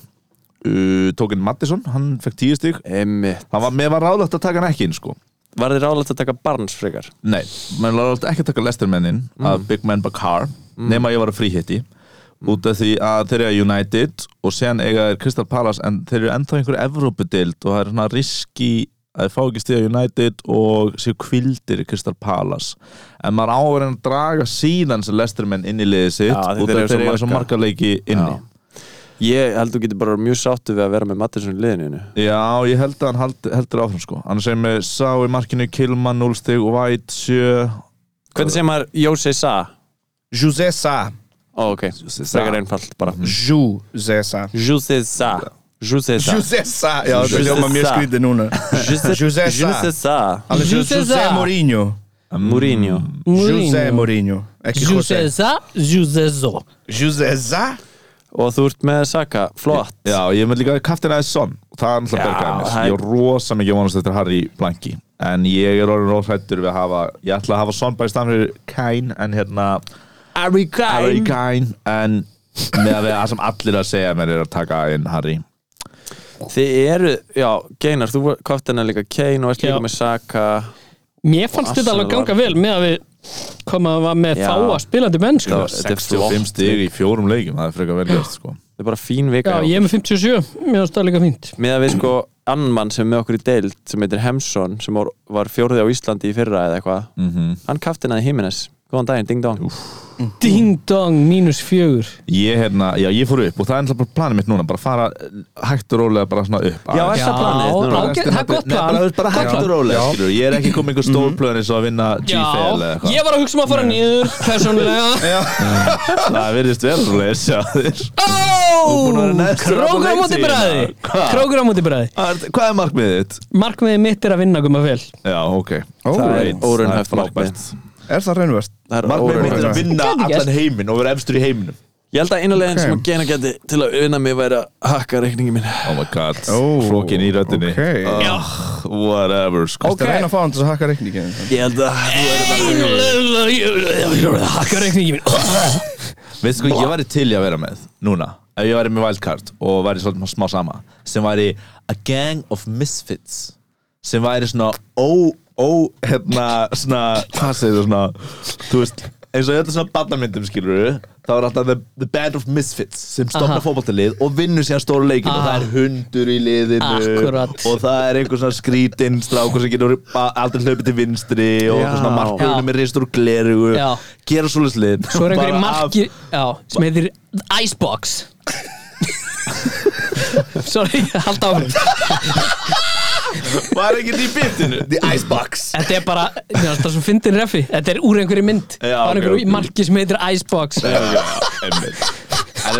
S2: uh, Tókin Mattisson, hann fekk 10 stík
S4: Einmitt.
S2: Hann var, mér var ráðlegt að taka hann ekki inn sko
S4: var þið ráðlegt að taka barns frekar?
S2: Nei, mér var ráðlegt ekki að taka lestermennin mm. að Big Man Bakar
S4: Mm.
S2: nema ég var að fríhitti út af því að þeir eru United og sen eiga er Crystal Palace en þeir eru ennþá einhver Evrópudild og það er svona riski að þeir fá ekki stiga United og séu kvildir í Crystal Palace en maður á að vera að draga síðan sem lestermenn inn í liðið sitt
S4: Já, því
S2: út
S4: þeir
S2: af
S4: eru
S2: þeir
S4: svo
S2: eru svo
S4: marga.
S2: marga leiki inni
S4: Já. ég held þú getur bara mjög sáttu við að vera með Mattinsson í liðinu
S2: Já, ég held að hann hald, heldur áfram sko Hann segir með Sá í markinu, Kilman 0 stig, White 7
S4: hvernig segir maður Jose Sa?
S6: José Sá
S4: Ó, ok, frekar einfalt bara
S6: José Sá
S4: Jose Sa Jose Sa
S6: José Sá Já,
S4: José
S6: þetta hljóma mjög
S4: Sá.
S6: skrítið núna
S4: Jose
S6: José Sa.
S4: Jose Sa Mm.
S6: Alveg
S3: José
S6: José
S3: Sá.
S6: Mourinho
S4: Mourinho
S6: José
S3: Mm.
S6: Mourinho Ekki José
S3: José Sá, José Zó
S6: José Sá
S4: og þú ert með Saka, flott
S2: Já, ég með líka Kaftin aðeins son og það er alltaf
S4: Já,
S2: bergaði mér
S4: það er-
S2: Ég er rosa mikið vonast eftir Harry Blanki En ég er orðin óhrættur við að hafa Ég ætla að hafa son bæði stafn fyrir Kane En hérna
S4: Harry
S2: Harry Kane En með að við það sem allir að segja mér er að taka inn Harry
S4: Þið eru, já, Geinar, þú kofti hennar líka Kane og ert líka
S3: Já.
S4: með Saka
S3: Mér fannst
S4: Og
S3: þetta alveg
S4: Arsenal
S3: ganga
S4: var-
S3: vel með að við koma að var með
S4: Já.
S3: fáa spilandi menn sko.
S2: Já, Þetta er 65 stig í fjórum leikjum Það er frekar velgjast sko
S4: Þetta er bara fín
S3: Já,
S4: vika
S3: ég er með 57, mér finnst það líka fínt
S4: Með að við sko annan mann sem er með okkur í deild sem heitir Hemsson, sem var- var fjórði á Íslandi í fyrra eða eitthvað Hann kafti hennar Himines, góðan daginn, ding dong
S3: Ding dong, mínus fjögur
S2: Ég, hérna, já, ég fór upp og það er alltaf bara planið mitt núna bara fara eh, hægt og rólega bara svona upp
S4: Já,
S2: aðeins.
S4: er það planið þitt núna?
S3: ágæ- það er gott
S2: Nei, bara,
S3: plan
S2: bara hægt og rólega skilur. Ég er ekki komið einhver stór plön eins og að vinna
S3: Já,
S2: G-Fail eða eitthvað
S3: ég var að hugsa um að fara niður persónulega
S2: Það virðist vel rólega sjá þér búin að vera
S3: Ó,
S2: neðstur
S3: Krókur á
S2: allan
S3: móti
S2: leiktíðina.
S3: bræði
S2: Hvað?
S3: Krókur á móti bræði
S2: Art- Hvað er markmiðið þitt?
S3: Markmiðið mitt er að vinna guma fel
S2: Já, ok
S4: Það
S6: Ó,
S4: er óraunhæft
S2: Það er frábært.
S4: markmið
S6: Er það reynvert?
S4: Það er
S2: Markmiðið mitt er
S4: óraunhæft
S2: að vinna
S3: Gæti gerst.
S2: allan heiminn og vera efstur í heiminum
S4: Ég held að einulegin
S6: Ok.
S4: sem að Geinar geti til að vinna mig væri að hakka reikningi mín
S2: Oh my god,
S6: Ó,
S2: flókin í röddinni
S6: ok.
S2: Ugh, Whatever, sko
S6: Það er reyna að fá hann til að hakka reikningin
S4: Ég held að þú er
S3: Hakka reikningi mín
S2: Veist sko, ég væri til í að vera með núna ef ég væri með wildcard og væri svona smá sama sem væri a gang of misfits sem væri svona ó, ó, hérna svona, hvað segir það svona þú veist, eins og þetta svona barnamyndum skilur við, þá er alltaf the, the band of misfits sem stopna
S3: Aha. Ah.
S2: fótballtalið og vinnur síðan stóru leikin og það er hundur í liðinu
S3: Akkurat.
S2: og það er einhver svona skrítinn strákur sem getur ba- aldrei hlaupið til vinstri og
S4: Já.
S2: eitthvað svona
S3: Já.
S2: markvörunum með ristur og glerugu
S3: Já.
S2: gera svoleiðis lið
S3: Svo er einhver í
S2: Bara af-
S3: marki Já, sem heitir Icebox Sorry, halda áfram
S2: Var ekki því bitinu?
S7: The icebox.
S3: Þetta er bara, mér finnst það svo fyndin refi Þetta er úr einhverju mynd
S2: Já,
S3: Það
S2: ok,
S3: er einhverju
S2: ok.
S3: marki sem heitir Icebox
S2: En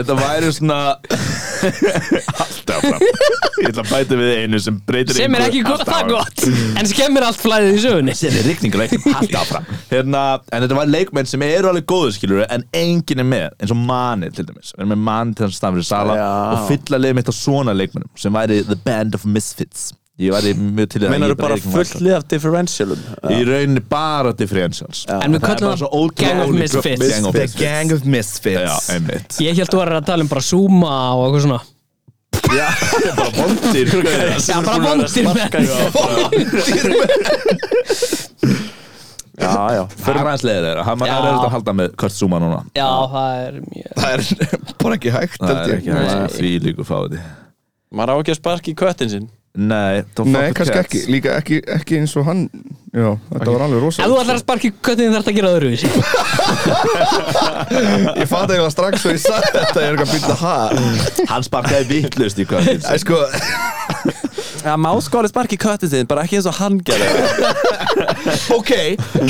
S2: þetta væri svona Alltaf fram Ég ætla að bæta við einu sem breytir
S3: sem er
S2: engu.
S3: ekki gott,
S2: Alltaf
S3: það
S2: áfram.
S3: gott en skemmir allt flæðið í sögunni
S2: Sem er rigningur ekki Alltaf áfram hérna, En þetta var leikmenn sem eru alveg góðu skilur En enginn er með eins og manni til dæmis Við erum með manni til hans stafnir sala
S4: Já.
S2: Og fylla leið mitt á svona leikmennum Sem væri the band of misfits Ég væri mjög til í það
S4: Meinar þú
S2: Ég
S4: bara
S2: er ekki með
S4: fullt lið af um differentialum
S2: það. Í rauninni bara differentials
S3: En við
S2: Það er
S3: köllum
S2: bara
S3: það
S2: svo ótrúlega
S3: gang of
S2: ólík-
S3: misfits.
S2: Gang of
S6: The
S2: misfits
S6: gang of misfits
S2: Já, einmitt
S3: ég held þú var að tala um bara Zuma og eitthvað svona
S2: Já, bara bondir
S3: Já, bara vondir menn
S4: Já, já
S2: Það er aðeins leiðir þeirra, hann er
S3: Já.
S2: aðeins að halda með Kurt Zuma núna
S3: Já, það er mjög
S6: Það er bara ekki hægt
S2: Það
S6: held
S2: er
S6: ég.
S2: ekki aðeins að því líku fáti
S4: Maður á ekki að sparki í köttin sinn
S2: Nei, don't
S6: Nei,
S2: fuck the
S6: kannski
S2: cats.
S6: ekki, líka ekki, ekki eins og hann Já, þetta var alveg rosa
S3: Ef þú ætlar að sparki köttin þarf þetta að gera öðru
S6: Ég fatt eiginlega strax og ég sagði þetta Ég er eitthvað býtla ha
S2: Hann sparkaði vittlust í kvöldin
S6: Æ, sko,
S4: Já, má skóla sparki í köttin sinn, bara ekki eins og hann gerði
S7: Ok,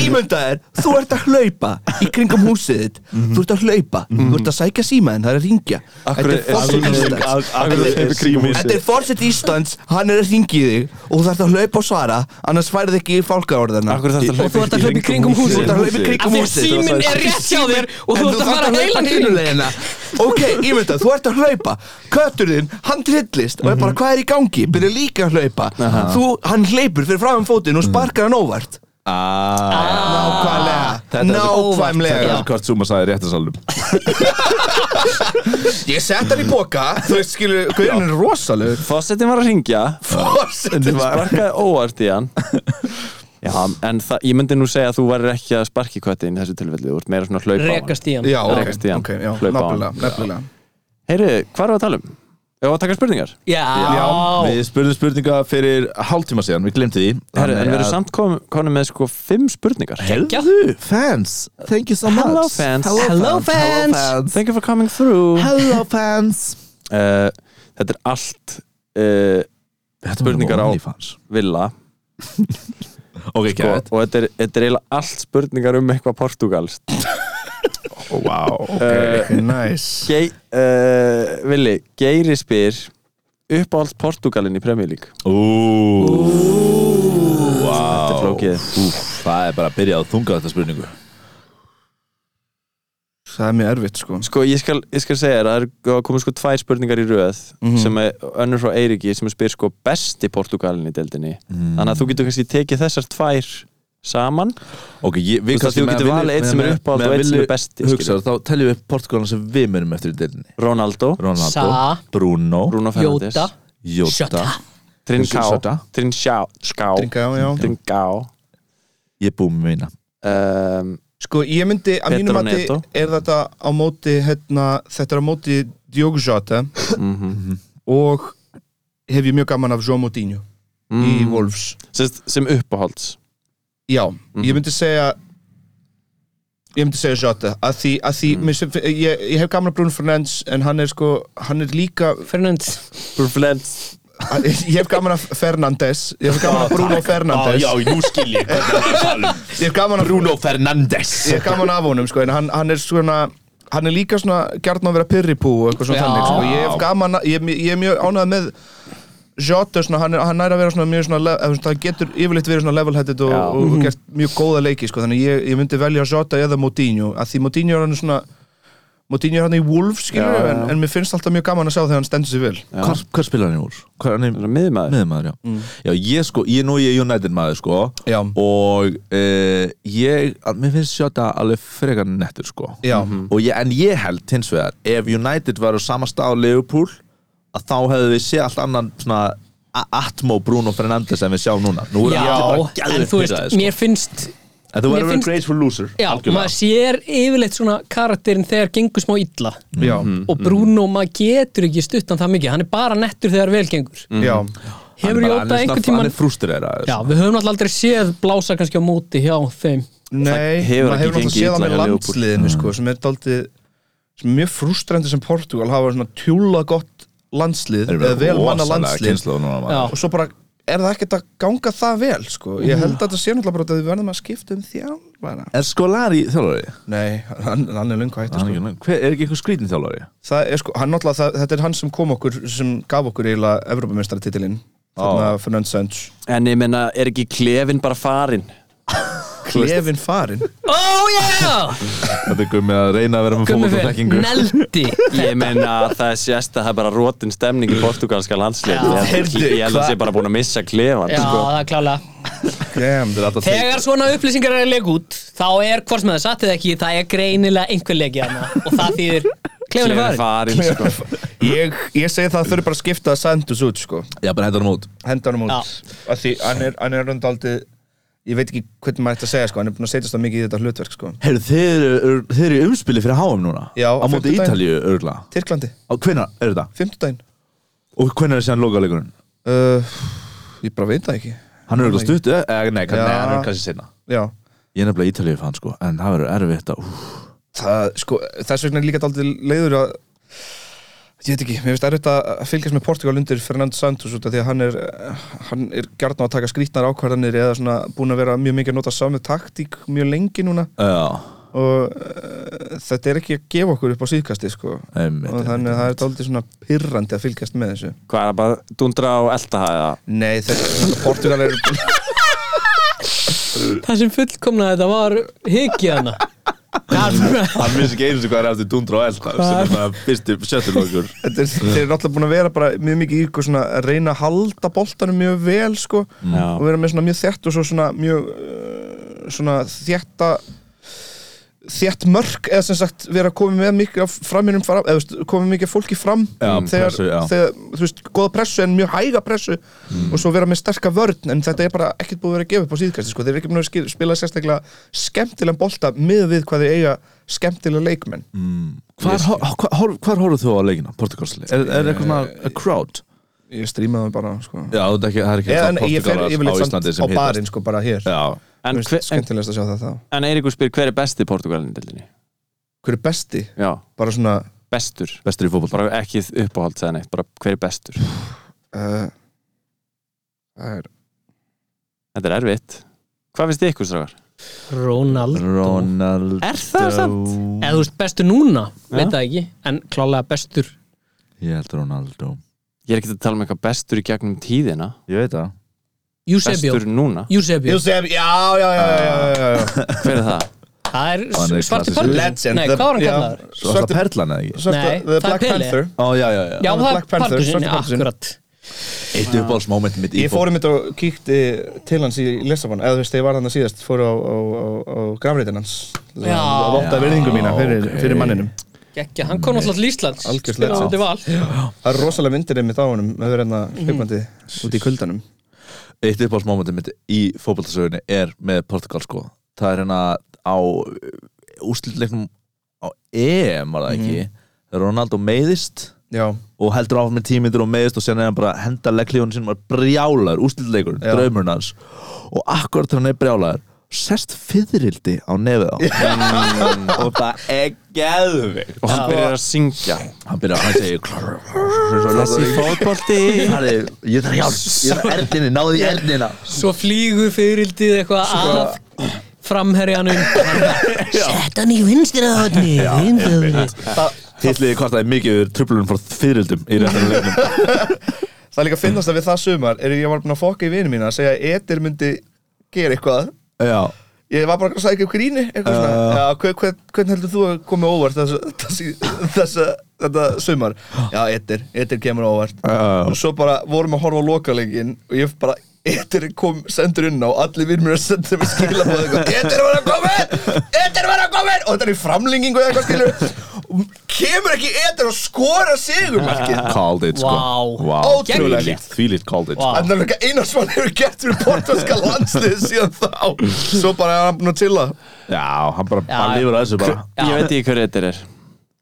S7: ímyndaðir, þú ert að hlaupa í kringum húsið þitt Þú ert að hlaupa,
S6: Mm.
S7: þú ert að sækja símaðin, það er að ringja Þetta er forseti Íslands Þetta er forseti Íslands, hann er að ringja í þig og þú þarf að hlaupa og svara annars færið ekki fálkaorðana
S4: Akkur þarf
S3: og þú ert að hlaupa í kringum
S7: Þú
S3: húsið
S7: ert að hlaupa í
S3: af
S7: kringum
S3: því
S7: húsið
S3: síminn er rétt hjá þér og
S7: En
S3: þú ert að fara heilan
S7: hlaupa hinu
S3: kring
S7: leiðina ok, ímynda, þú ert að hlaupa köttur þinn, hann trillist og er bara hvað er í gangi, byrja líka að hlaupa þú, hann hleypur fyrir fram fótinn og sparkar hann óvart
S2: Ah.
S6: Nákvæmlega Nákvæmlega
S2: Hvort Zuma sagði réttarsalum
S6: Ég sett hann í boka Þú veist, skilur, gaurin er rosalur
S4: Fossettin var að ringja
S7: Forsetin var-
S4: Sparkaði óvart í hann Já, en það- ég myndi nú segja að þú værir ekki að sparki köttin í þessu tilfelli, þú ert meira svona að hlaupa á hann.
S3: rekast í hann
S6: Já, ok,
S4: Rekast í hann.
S6: ok, já,
S4: Hlaupa á hann.
S6: nefnilega, nefnilega
S4: Heyri, hvað er að tala um? Ég var að taka spurningar
S3: já,
S2: Við spurðum spurninga fyrir hálftíma síðan, við glemti því
S4: Heyri, En við erum
S2: að-
S4: samt kom, konum með sko fimm spurningar
S2: Heyrðu, fans, thank you so much
S4: Hello, fans.
S3: Hello, fans.
S4: Thank you for coming through
S2: Hello fans
S4: uh, Þetta er allt uh, Spurningar á Villa
S2: Ok,
S4: sko,
S2: gett
S4: og þetta er, þetta er eiginlega allt spurningar um eitthvað portugalst
S2: oh,
S6: Wow,
S2: Eh,
S6: ok, nice
S4: Ge uh, Vili, Geiri spyr uppáhalds Portugalin í Premier League Þetta er flókið
S2: Það er bara að byrja að þunga þetta spurningu
S6: Það er mjög erfitt, sko
S4: Sko, ég skal, ég skal segja þér, það er- það komið sko tvær spurningar í röð
S6: Mhm.
S4: sem er önnur frá Eiriki sem spyr sko besti Portugalin í deildinni
S6: Mhm.
S4: þannig að þú getur kannski tekið þessar tvær saman
S2: Ok, ég,
S4: Þú
S2: við
S4: veist að þú getur valið einn sem er uppáhalds og einn sem er besti, skilur.
S2: Hugsaður, þá teljum við Portugalan sem við munum eftir í delinni
S4: Ronaldo,
S2: Ronaldo,
S3: Sa-
S2: Bruno,
S4: Bruno Fernandes
S3: Jóta
S2: Jota
S3: Jota.
S4: Trincao
S2: Jota.
S4: Trincao Trincao
S6: Drinka, já, já
S4: Trincao
S2: Ég búið með mína
S4: um,
S6: Sko, ég myndi, að
S4: Pedro
S6: mínum mati
S4: Neto.
S6: er þetta á móti, hérna, þetta er á móti Diogo Jota
S4: mhm.
S6: og hef ég mjög gaman af João Moutinho í
S4: Mm.
S6: Wolves
S4: sem, sem uppáhalds
S6: Já,
S4: Mhm.
S6: ég myndi segja ég myndi segja Jota að því, að því,
S4: Mm.
S6: mér sem, ég, ég hef gaman af Bruno Fernandes en hann er sko, hann er líka
S3: Fernand
S4: Bruflens
S6: hann- ég hef gaman af Fernandes ég hef gaman af Bruno Fernandes
S2: nú skil ég hvað það var að tala um
S6: ég hef gaman af
S2: Bruno Fernandes
S6: ég er gaman af honum sko, en hann, hann er svona hann er líka svona gjarn að vera pyrripú og eitthvað svona
S3: Já.
S6: þannig sko. ég, hef gaman, að- ég, ég er mjög ánægð með Jota, svona, hann, er, hann næri að vera svona mjög svona, le- eða svona hann getur yfirleitt verið svona level-headed og,
S4: Já. Mhm.
S6: og mm gert mjög góða leiki sko, þannig ég, ég myndi velja Jota eða Moutinho að því Moutinho er hann svona Moutinho er hann í Wolves skilur
S4: Já, já, já.
S6: En, en mér finnst alltaf mjög gaman að sjá þegar hann stendur sér vel
S2: Hvað hvað spilar hann í úr? Hvað er hann í
S4: miðmaður
S2: miðmaður, já
S3: Mm.
S2: Já, ég sko, ég nú ég er United maður sko
S6: Já.
S2: og uh, ég, að- mér finnst Jota alveg frekar nettur sko
S6: Já.
S3: Mhm.
S2: og ég, en ég held hins vegar ef United var á sama stað á Liverpool að þá hefðu við séð allt annan svona a- Atmo Bruno Fernandes en við sjáum núna Nú er
S3: Já,
S2: allir bara
S3: en
S2: geðveikt
S3: þú veist,
S2: pirraðir, sko.
S3: mér finnst
S2: En þú
S3: mér
S2: verður að vera
S3: finnst-
S2: grateful loser
S3: Já, maður sér yfirleitt svona karakterin þegar gengur smá illa
S2: Mm.
S6: já,
S4: Mhm,
S3: og Bruno, maður getur ekki stutt hann það mikið hann er bara nettur þegar vel gengur
S4: mhm.
S6: já,
S3: Hefur Jóta einhver tíman
S2: Hann Mm. er sko. frústrera
S3: Já, við höfum alltaf aldrei séð blása kannski á móti hjá þeim
S6: Nei,
S4: Það hefur
S6: maður
S4: ekki
S6: hefur náttúrulega
S4: gengið
S6: séð það
S4: illa
S6: með
S4: hjá Liverpool.
S6: landsliðinu sko, sem er daldið sem er mjög frústrendi sem Portugal hafa svona tjúla gott landslið eða vel manna landslið
S3: Já.
S6: og svo bara er það ekkert að ganga það vel sko. ég held að þetta sé náttúrulega bara að við verðum að skipta um þjálfara
S2: Er Skolari þjálfari?
S6: Nei, hann, hann er löngu hættur
S2: Hann er
S6: sko.
S2: ekki- Hver, er ekki einhver skrítin þjálfari?
S6: það er sko, hann náttúrulega, það, þetta er hann sem kom okkur sem gaf okkur eiginlega Evropamestaratitilinn þarna oh. Fernand Sands
S4: En ég menna, er ekki klefin bara farin?
S6: Klefin farin
S3: Oh yeah!
S2: Þetta er gummið að reyna að vera með
S3: Gummi
S2: fólk og
S3: fyrir,
S2: þekkingu
S3: neldi
S4: Ég menna, það er sérst að það er bara rótin stemning í portugalska landslið
S3: Já.
S4: Ég held- Ég held að það sé bara búin að missa klefan
S3: Já,
S4: sko.
S3: það er klálega
S6: Damn.
S3: Þegar svona upplýsingar er að lega út þá er hvort með það satt eða ekki það er greinilega einhver legi hana og það þýðir klefinu
S4: Klefin
S3: farin
S4: farin sko.
S6: Ég, ég segi það að þau eru bara að skipta Sands út sko.
S2: Já, bara hendur hann út
S6: hendanum út
S3: Já.
S6: af því hann er, hann er röndaldi ég veit ekki hvernig maður ætti að segja sko, hann er búin að setjast það mikið í þetta hlutverk sko.
S2: Heyrðu, þið eru þið eru í umspili fyrir HM núna
S6: Já,
S2: Á
S6: á
S2: móti
S6: fimmtudaginn.
S2: Ítalíu, örgulega
S6: Tyrklandi,
S2: Á hvenær er þetta?
S6: 50 daginn
S2: Og hvenær er síðan lokalegurinn?
S6: uh, ég bara veit það ekki
S2: Hann er örgulega stutt, eða? Eh, nei, kann,
S6: Já.
S2: nei, hann er kannski sinna
S6: já
S2: Ég er nefnilega Ítalíu fann, sko En það verður erfitt að úf,
S6: það, sko, þess vegna er líka daldið leiður að ég veit ekki, mér finnst erfitt að fylgjast með Portugal undir Fernando Santos út af því að hann er eh, hann er gjarn á að taka skrítnar ákvarðanir eða svona búin að vera mjög mikið að nota samu taktík mjög lengi núna
S2: Já,
S6: og uh, þetta er ekki að gefa okkur upp á síðkasti sko
S2: einmitt,
S6: og þannig að það er daldið svona pyrrandi að fylgjast með þessu
S4: Hvað er það bara dundra á eldahaða?
S6: Nei, þetta Portugal er
S3: Það sem fullkomna þetta var hyggjana Hvað?
S2: Hann vissi ekki einu sem hvað er eftir Dundra og Elda sem er það fyrstu sjöttulokur
S6: Þetta er, þeir eru alltaf búin að vera bara mjög mikið í ykkur svona að reyna að halda boltanum mjög vel sko
S4: Já.
S6: og vera með svona mjög þétt og svo svona mjög uh, svona þétta þétt mörk eða sem sagt vera að koma með mikið af framinum fram, eða þú veist, komið mikið af fólki fram
S2: Já,
S6: þegar,
S2: pressu, já. Mm.
S6: þegar, þú veist, góða pressu en mjög hæga pressu og svo vera með sterka vörn en þetta er bara ekkert búið að vera að gefa upp á síðkast sko. þeir eru ekki búin að skil- spila sérstaklega skemmtilega bolta miður við hvað þeir eiga skemmtilega leikmenn
S2: Mm. Hvar horfðu þú á leikina, Portugalsli? Er, er eitthvað svona a crowd?
S6: ég strímaði bara sko.
S2: Já, það er ekki, það er ekki
S6: Eða,
S2: alltaf
S6: en ég fer
S2: Portúgalar á
S6: yfirleitt samt
S2: Íslandi
S6: á
S2: sem hittast
S6: barinn sko bara hér
S2: Já,
S4: En,
S6: Þú
S4: hver,
S6: veist, sko-
S4: en,
S6: skemmtilegast að sjá það þá
S4: en Eiríkur spyr hver er besti Portugalin dildinni?
S6: hver er besti?
S4: Já,
S6: bara svona
S4: bestur
S2: bestur í fótboll
S4: bara ekki uppáhald segja neitt, bara hver er bestur
S6: uh, það er
S4: Þetta er erfitt Hvað finnst þið ykkur strákar?
S3: Ronaldo
S2: Ronaldo
S4: Er það samt?
S3: Eða þú veist bestur núna,
S4: Já.
S3: veit það ekki En klálega bestur
S2: Ég held Ronaldo
S4: Ég er ekki að tala um eitthvað bestur í gegnum tíðina
S2: Ég veit það
S3: Eusebio
S4: Bestur núna,
S3: Eusebio,
S6: Josef, já, já, já, já, já, já.
S4: hver er það?
S3: það er
S2: Hann er
S3: s- svarti
S2: klassískur.
S3: pörlur
S6: Legend,
S3: Nei,
S6: the-
S3: hvað var hann
S6: já.
S3: kallaður?
S2: Svo er það Perlan eða ekki?
S6: Svarta-
S3: Nei,
S6: The
S3: það er
S6: Black
S3: Pele.
S6: Panther
S2: Ó, já, já, já
S3: Já, það er
S6: Black Panther,
S3: pörlusinni,
S6: svarti pörlusinn.
S3: akkurat
S2: Eitt uppáhaldsmoment mitt í
S6: ég fór um þetta og kíkti til hans í Lissabon eða þú veist, ég var þarna síðast fór á, á, á, á grafreitin hans
S3: Já.
S6: og votta verðingu mína fyrir, fyrir manninum
S3: Gekki, hann kom náttúrulega til Íslands
S6: Mm. Algjör
S3: spilaði
S6: slegst.
S3: undir val
S6: það er rosalega myndir einmitt á honum með verið hérna hlipandi út í kuldanum
S2: eitt uppáhaldsmomentum mitt í fótboltasögunni er með Portugal sko það er hérna á úrslitleiknum á EM var það ekki
S6: Mhm.
S2: þegar Ronaldo meiðist
S6: já,
S2: og heldur áfram með tímyndir og meiðist og sen er hann bara að henda legglífunum sínum og er brjálar úrslitleikur,
S6: Já.
S2: draumurinn hans og akkurat þegar hann er brjálar sest fyririldi á nefið á mm, og það er geðvig
S4: Og hann byrjar að syngja
S2: hann byrjar hann segir þessi fótbolti ég þarf hjálp, ég þarf erdinni, náðu í erdina
S3: Svo flýgur fyririldið eitthvað af framherjanum Sett hann í vinstra hodni
S2: Hitliði kvartaði mikið yfir tröflunum frá fyririldum í réttan leiknum
S6: það er líka að finnast að við það sumar er ég var búin að fokka í vinum mína að segja að Edir myndi gera eitthvað
S2: Já,
S6: Ég var bara að sækja upp gríni eitthvað svona Já, hver, hver, Hvernig heldur þú að koma óvart þess, þess, þess, þetta sumar? Já, ettir, ettir kemur óvart
S2: Já.
S6: Og svo bara vorum að horfa á lokalegin Og ég bara, ettir kom, sendur inn á Allir við mér að senda mér skila bóð Ettir var að koma Ettir var að koma Og þetta er í framlengingu eða eitthvað skilur Og Kemur ekki ettir og skora sigurmarkið
S2: called it sko
S3: Vá.
S6: Ótrúlegt.
S2: Þvílíkt, þvílíkt called it sko.
S3: Vá.
S6: En það er líka eina svan hefur gert fyrir portugalska landslið síðan þá Svo bara er hann búin að chilla
S2: Já, hann bara,
S3: Já.
S2: hann lifur að þessu bara
S4: Ég veit ekki hver þetta er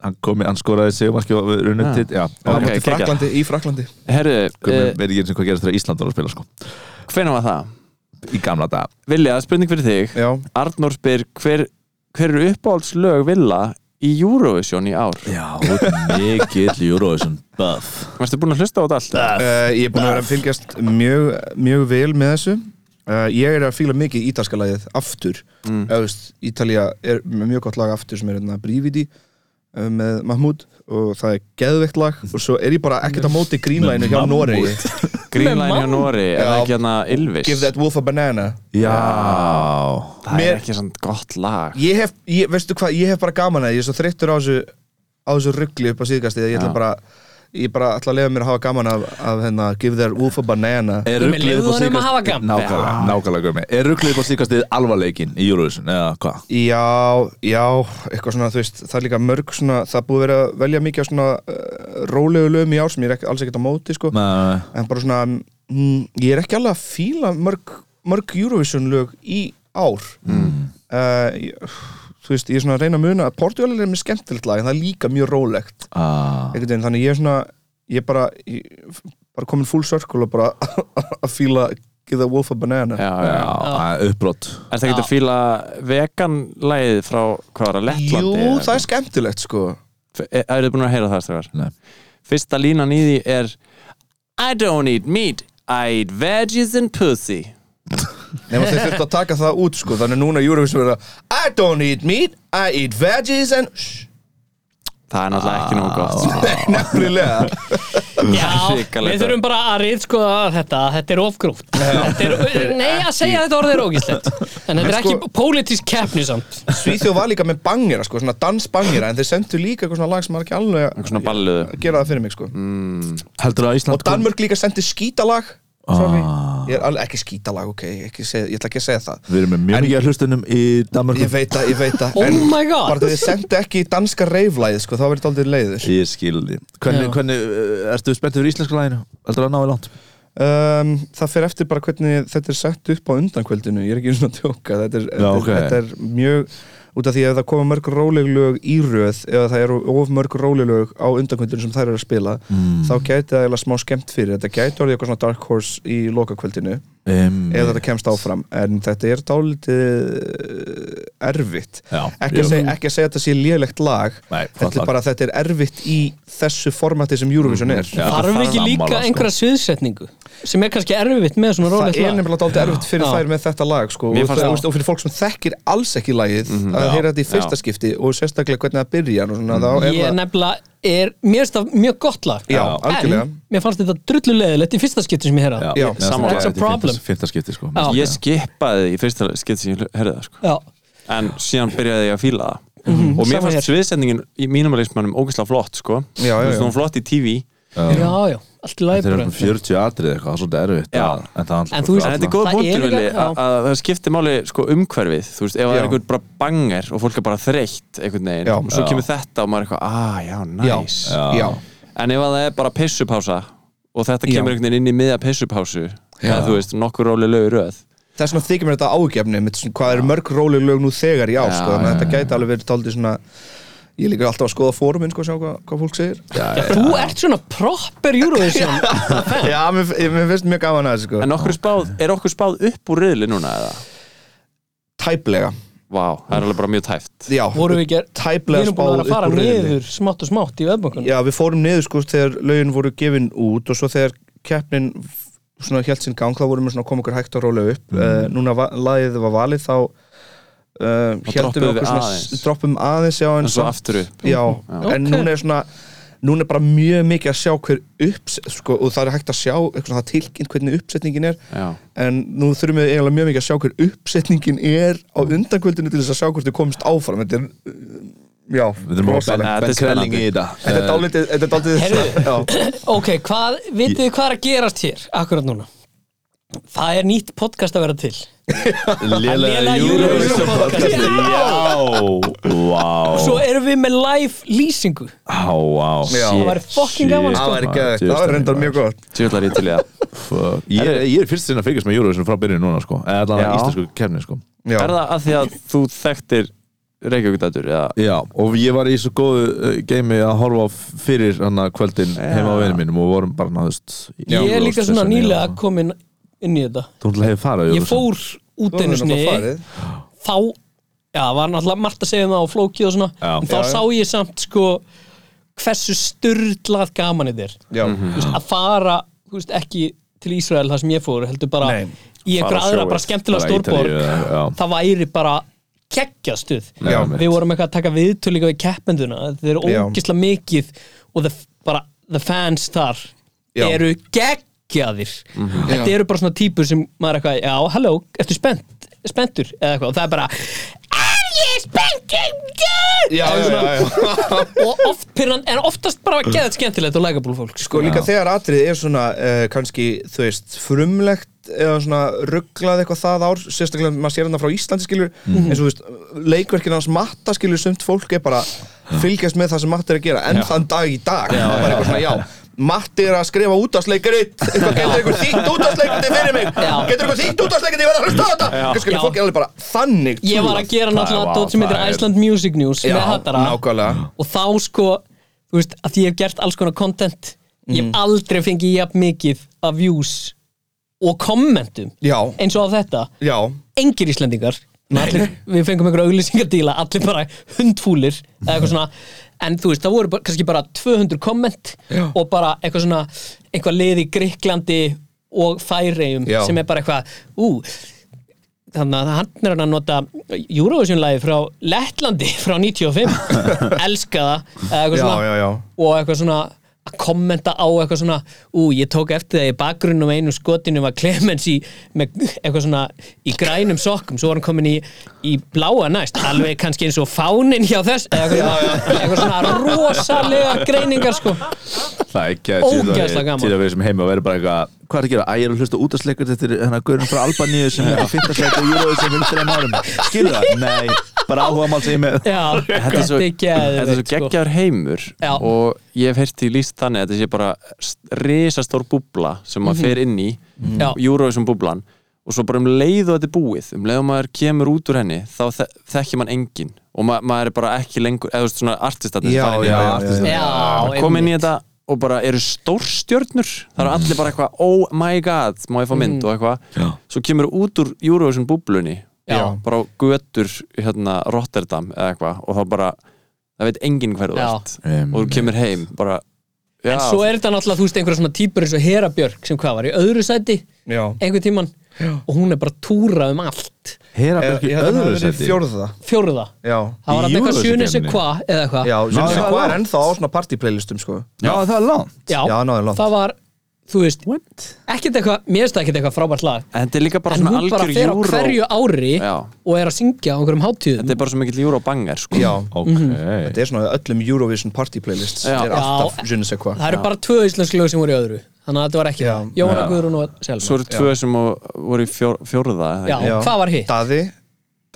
S2: Hann komi, hann skoraði sig og marki og við runnum til Já, ok
S4: Ok, kekja.
S6: í Fraklandi
S4: Herru,
S2: Guðmund
S3: eh,
S4: uh,
S2: veit ekki eins og hvað gerist þegar Ísland var að spila sko
S4: hvenær var það?
S2: Í gamla dag
S4: Vilja, spurning fyrir þig
S6: Já,
S4: Arnór spyr hver, hver eru uppáhaldslög Villa í Eurovision í ár?
S2: Já, þú ert mikill Eurovision buff
S4: Varstu búin að hlusta á þetta allt?
S6: Uh, ég er búin að vera að fylgjast mjög, mjög vel með þessu uh, Ég er að fíla mikið ítalska lagið aftur mm. veist, Ítalía er með mjög gott lag aftur sem er hérna Brívidi uh, með Mahmoud og það er geðveikt lag og svo er ég bara ekkert á móti grínlæginu hjá Noregi
S4: Greenline hjá Nóri, er það ekki hérna Ylvis?
S6: Give that wolf a banana
S2: Já
S4: það
S6: Mér-
S4: er ekki svona gott lag
S6: Ég hef, ég, veistu hvað, ég hef bara gaman að því, ég er svo þreyttur á þessu á þessu ruggli upp á síðkastið ég ætla
S4: Já.
S6: bara, ég bara ætla að lefa mér að hafa gaman af, af hérna, give that wolf a banana
S2: Er
S3: Gummi,
S2: ruglið upp á
S3: leyfðu honum að hafa
S2: síkast
S3: gaman.
S2: Nákvæmlega, nákvæmlega gummi Er ruglið upp á síkast alvarleikin í Eurovision eða hvað?
S6: Já, já, eitthvað svona, þú veist, það er líka mörg svona, það er búið verið að velja mikið af svona uh, rólegu lögum í ár sem ég er ekki, alls ekkert á móti, sko,
S2: Nei,
S6: en bara svona, mm, ég er ekki alveg að fíla mörg, mörg Eurovision lög í ár. Mm. ég, þú veist, ég er svona að reyna að muna að Portugal er með skemmtilegt lag, en það er líka mjög rólegt,
S2: ah,
S6: einhvern veginn, þannig ég er svona, ég er bara, ég, bara komin full circle og bara að fíla Give the Wolf a Banana.
S4: Já, já, já.
S2: Ah, Já, uppbrott
S4: Er það ekki að fíla veganlæðið frá, hvað var það,
S6: Jú,
S4: Lettlandi?
S6: það er skemmtilegt, sko.
S4: Eru þið búin að heyra það strafar?
S2: Nei.
S4: Fyrsta línan í því er I don't eat meat, I eat veggies and pussy
S6: nema þeir þurftu að taka það út sko þannig núna Eurovision verða I don't eat meat, I eat veggies and Shh.
S4: það er náttúrulega ekki nóg gott sko.
S6: Nefnilega
S3: Já,
S4: Hrikalega.
S3: við þurfum bara að rýðskoða þetta Þetta er ofgróft þetta er, Nei, að segja þetta orðið er ógíslegt En þetta er ekki
S6: sko-
S3: pólitísk keppni samt
S6: Svíþjóð var líka með bangira, sko, svona dansbangira En þeir sendu líka eitthvað svona lag sem var ekki alveg
S4: Eitthvað svona balluðu.
S6: að gera það fyrir mig, sko
S2: Heldur að Ísland Ah,
S6: Og Danmörk líka sendi skítalag Sorry, ég er alveg ekki skítalag, ok Ég, ekki seg, ég ætla ekki að segja það
S2: Við erum með mjög mikið að hlustunum í Danmarku
S6: Ég veit að, ég veit að
S3: Oh
S6: en
S3: my god.
S6: Bara þegar þið sendu ekki danska reiflæðið, sko, þá verður þetta aldrei leiður
S2: Ég skil því Hvernig,
S3: Já.
S2: hvernig, uh, ertu spenntið fyrir íslenska læginu? Heldur að náðu langt?
S6: um, Það fer eftir bara hvernig þetta er sett upp á undankvöldinu Ég er ekki svona að tjóka Þetta er, þetta,
S2: ok.
S6: er, þetta er mjög út af því að það koma mörg róleglög í röð eða það eru of mörg róleglög á undankvöldinu sem þær eru að spila þá gæti það eiginlega smá skemmt fyrir þetta gæti orðið eitthvað svona dark horse í lokakvöldinu
S2: Um,
S6: ef þetta kemst áfram en þetta er dálítið eh, erfitt
S2: Já,
S6: ekki að,
S2: jú.
S6: segja, ekki að segja að þetta sé lélegt lag
S2: Nei, flott
S6: þetta
S2: lag.
S6: er bara að þetta er erfitt í þessu formati sem Eurovision
S4: Mm,
S6: er
S2: Já,
S3: Þarf
S2: það er
S3: ekki líka
S2: sammála, sko.
S3: einhverja sviðsetningu sem er kannski erfitt með svona
S6: það
S3: rólegt
S6: er
S3: lag
S6: nefnilega dálítið erfitt fyrir
S3: Já.
S6: þær með þetta lag sko,
S4: Mér
S6: og,
S4: fannst
S6: það,
S4: það. Mhm.
S6: og, og fyrir fólk sem þekkir alls ekki lagið að heyra þetta í fyrsta
S4: Já.
S6: skipti og sérstaklega hvernig það byrja og svona, þá er
S3: Mm. Ég
S6: það
S3: nefnilega er, mér finnst það mjög gott lag
S6: Já, algjörlega.
S3: En mér fannst þetta drullulegilegt í fyrsta skipti sem ég heyra það.
S6: Já,
S3: sammála. That's a problem.
S2: Fynda skipti sko
S3: Já.
S4: ég skipaði í fyrsta skipt sem ég herði það sko.
S3: Já,
S4: en síðan byrjaði ég að fíla það og mér
S3: sama
S4: fannst sviðsendingin í mínumalismannum ógeðslega flott sko.
S6: Já, já,
S4: Þú veist,
S6: já.
S4: hún var flott í TV
S3: já, já, allt í
S2: Þetta er
S3: lægur
S2: um 40 atrið eitthvað, það er svolítið erfitt
S4: Já.
S2: að- En það
S3: En þú veist-
S4: en þetta er
S3: Það
S4: góð
S3: er
S4: punktur
S3: líka-
S4: vilji
S3: já.
S4: að að það skiptir máli sko, umhverfið þú veist, ef það
S6: Já.
S4: er einhvern bara banger og fólk er bara þreytt einhvern veginn,
S6: Já.
S4: og svo
S2: Já.
S4: kemur þetta og maður er eitthvað, ah, já, næs nice.
S6: já, já.
S4: en ef að það er bara pissupása og þetta
S6: Já.
S4: kemur einhvern veginn inn í miðja pissupásu eða þú veist, nokkur róli lögur röð
S6: þess vegna þykir mér þetta ágefni mitt, svona, hvað eru mörg róleg lög nú þegar í ár
S4: Já,
S6: sko, þannig
S4: já,
S6: að þetta gæti alveg verið taldið svona ég er líka alltaf að skoða fórumin sko, sjá hvað, hvað fólk segir já,
S3: Já, þú ert svona proper Eurovision
S6: já mér, f- mér finnst mjög gaman að þessu sko.
S4: en okkur spáð, er okkur spáð upp úr riðli núna eða?
S6: tæplega
S4: Vá, það er alveg bara mjög tæft
S6: já,
S3: vorum við ger Við
S6: tæplega
S3: erum búin að vera
S6: spáð
S3: að fara
S6: upp úr riðli
S3: niður smátt og smátt í veðbókunum
S6: já, við fórum niður sko þegar lögin voru gefin út og svo þegar keppnin f- svona held sinn gang þá vorum við svona að koma okkur hægt að róla upp mm. núna va- lagið var valið þá uh, heldum við
S4: droppuðu við
S6: okkur svona
S4: aðeins.
S6: s- droppum aðeins já, en
S4: en svo
S6: samt-
S4: aftur upp
S6: já,
S3: Ok.
S6: en núna er svona núna er bara mjög mikið að sjá hver upps sko, og það er hægt að sjá eitthvað, svona, það tilkynnt hvernig uppsetningin er
S4: Já.
S6: en nú þurfum við eiginlega mjög mikið að sjá hver uppsetningin er á undankvöldinu til þess að sjá hvort þið komist áfram þetta er, uh, já,
S2: Við erum að Ben-
S6: rosalegt.
S4: Nei, þetta
S2: Ben
S4: er
S2: Krelling í
S4: spennandi.
S2: þetta
S6: þetta er dálítið þetta er dálítið já.
S3: Ok, hvað, vitið þið hvað er að gerast hér akkurat núna? Það er nýtt podcast að vera til Lélega Eurovision podcast
S2: Já, vá
S3: Svo erum við með live lýsingu
S2: Á, vá
S6: Já.
S3: Það væri fucking gaman, sko.
S6: það er ekki það er reyndar mjög gott
S4: Tjóðlar í til ég að
S2: Fuck. Ég, ég er fyrst sinna að fylgjast með Eurovision frá byrjun núna sko Eða allan
S4: Já.
S2: að íslensku kefni sko
S6: já.
S4: Er það að því að þú þekktir Reykjavíkudætur eða
S2: Já, og ég var í svo góðu uh, geimi að horfa á f- fyrir hann að kvöldin heima á vinum mínum og vorum bara náðust
S3: Ég er líka svona nýlega komin inn í þetta
S2: Þú ætlaði að fara
S3: Ég fór út einu sinni
S6: farið.
S3: Þá, já, var náttúrulega margt að segja um það á flóki og svona
S2: Já.
S3: En þá sá ég samt, sko, hversu sturdlað gaman þetta er
S6: já,
S3: Þú veist, að fara, þú veist, ekki til Ísrael þar sem ég fór, heldur bara
S6: Nei.
S3: í einhver
S4: Fara á
S3: aðra,
S4: sjóinn.
S3: bara skemmtilega stórborg það væri bara kekkjastuð
S6: Já.
S3: við vorum eitthvað að taka viðtöl líka við keppenduna þeir eru
S6: Já.
S3: ógisla mikið og the, bara the fans þar
S6: Já.
S3: eru geggjaðir þetta eru bara svona típur sem maður er eitthvað, já, hello, ertu spennt spenntur eða eitthvað, og það er bara er ég spenntur
S6: já,
S3: Það er
S6: já,
S3: svona-
S6: já, já.
S3: og oft pyrran, en oftast bara geðað skemmtilegt og lægabúl fólk
S6: sko líka þegar atrið er svona uh, kannski, þú veist, frumlegt eða svona rugglað eitthvað það ár sérstaklega maður sér hana frá Íslandi skilur
S3: Mhm.
S6: eins og þú veist, leikverkin hans matta skilur sumt fólk er bara fylgjast með það sem matta er að gera, en þann dag í dag já, bara eitthvað svona, já, Matti er að skrifa útastleikarit, eitthvað getur einhver þýtt útastleikarit fyrir mig,
S3: Já.
S6: getur einhver þýtt útastleikarit ég verð að hlusta á þetta, eitthvað skilur
S3: Já.
S6: fólk er alveg bara þannig
S3: ég var að gera náttúrulega dót sem heitir Iceland Music News
S6: já,
S3: með hattara
S6: nákvæmlega
S3: og þá sko þú veist, að ég hef gert alls konar content ég
S6: Mm.
S3: hef aldrei fengið jafn mikið af views og kommentum
S6: já,
S3: eins og á þetta
S6: já,
S3: engir Íslendingar allir, við fengum einhverja auglýsingadíla allir bara hundfúlir eða eitthvað svona en þú veist, það voru bara, kannski bara 200 komment
S6: Já.
S3: og bara eitthvað svona eitthvað lið í Gríklandi og Færeyjum
S6: Já.
S3: sem er bara eitthvað ú, hann að hann er hann að nota Eurovision-lægi frá Lettlandi frá 95, elska það eða eitthvað
S6: Já,
S3: svona,
S6: já, já.
S3: og eitthvað svona að kommenta á eitthvað svona ú, ég tók eftir það í bakgrunnum einu skotinu var Clemens í með eitthvað svona í grænum sokkum svo var hann komin í, í bláa næst alveg kannski eins og fánin hjá þess eða eitthvað, svona, eitthvað svona rosalega greiningar sko
S2: Það er ekki að
S3: Ógeðslega gaman.
S2: til að við sem heimi og verður bara eitthvað Hvað er að gera? Æ, ég er að hlusta út að sleikur þetta er hennar gaurin frá Albaníu sem er að fyrta sleikur og júróðu sem fyrir þreim árum Skilur það? Nei, bara áhuga mál sem ég með
S3: já,
S4: Þetta er svo, þetta er svo
S3: geðveikt, sko.
S4: geggjaður heimur
S3: Já.
S4: og ég hef heyrt í líst þannig að þetta sé bara st- risastór búbla sem maður fer inn í
S3: Mhm. Já.
S4: Eurovision búblan og svo bara um leið og þetta er búið um leið og maður kemur út úr henni þá þe þekkir mann engin og ma maður er bara ekki lengur eða þú veist svona artistatnir
S6: Já, já, já, já.
S3: já,
S4: kom inn í þetta og bara eru stórstjörnur það eru allir bara eitthvað, oh my god má ég fá mynd
S3: Mm.
S4: og eitthvað svo kemur þú út úr Eurovision búblunni
S3: Já.
S4: bara á götur hérna Rotterdam eða eitthvað og þá bara, það veit enginn hver þú
S3: Já.
S4: ert og þú kemur heim bara, já,
S3: en svo er þetta náttúrulega þú veist einhverja svona típur eins og Hera Björk sem hvað var í öðru sæti
S6: já.
S3: einhver tíman og hún er bara túrað um allt
S2: Hera
S6: Ég,
S2: Björk í
S6: ég held að það
S2: öðru
S6: hafi verið
S2: seti
S6: fjórða
S3: fjórða
S6: Já,
S3: það var
S2: Í
S3: alltaf eitthvað
S2: Eurovision
S3: sjönu sem
S2: keppninni?
S3: hvað eða eitthvað
S6: já, sem
S2: það
S6: sem
S2: er
S6: hvað er
S2: langt.
S6: ennþá á svona partyplaylistum sko
S2: Já, það er langt
S3: já,
S6: Já, náður langt
S3: það var, þú veist ekkert eitthvað, mér finnst það ekkert eitthvað frábært lag
S4: en þetta er líka bara
S3: en
S4: svona
S3: hún bara
S4: algjör
S3: fer á
S4: Euro
S3: hverju ári
S4: Já.
S3: og er að syngja á einhverjum hátíðum
S4: þetta er bara svo mikill Eurobanger sko.
S6: Já,
S2: Ok
S3: Mhm.
S6: þetta er svona öllum Eurovision partyplaylist
S4: Já.
S6: Þetta er
S3: Já.
S6: alltaf je ne sais quoi
S3: það eru bara tvö íslensk lög sem voru í öðru þannig að þetta var ekki
S6: Já.
S3: það, Jóhanna Guðrún og
S4: svo
S3: Selma
S4: eru tvö sem á- voru í fjór, fjórða eða
S3: já,
S4: ekki?
S6: Já.
S3: hvað var hitt?
S6: Daði,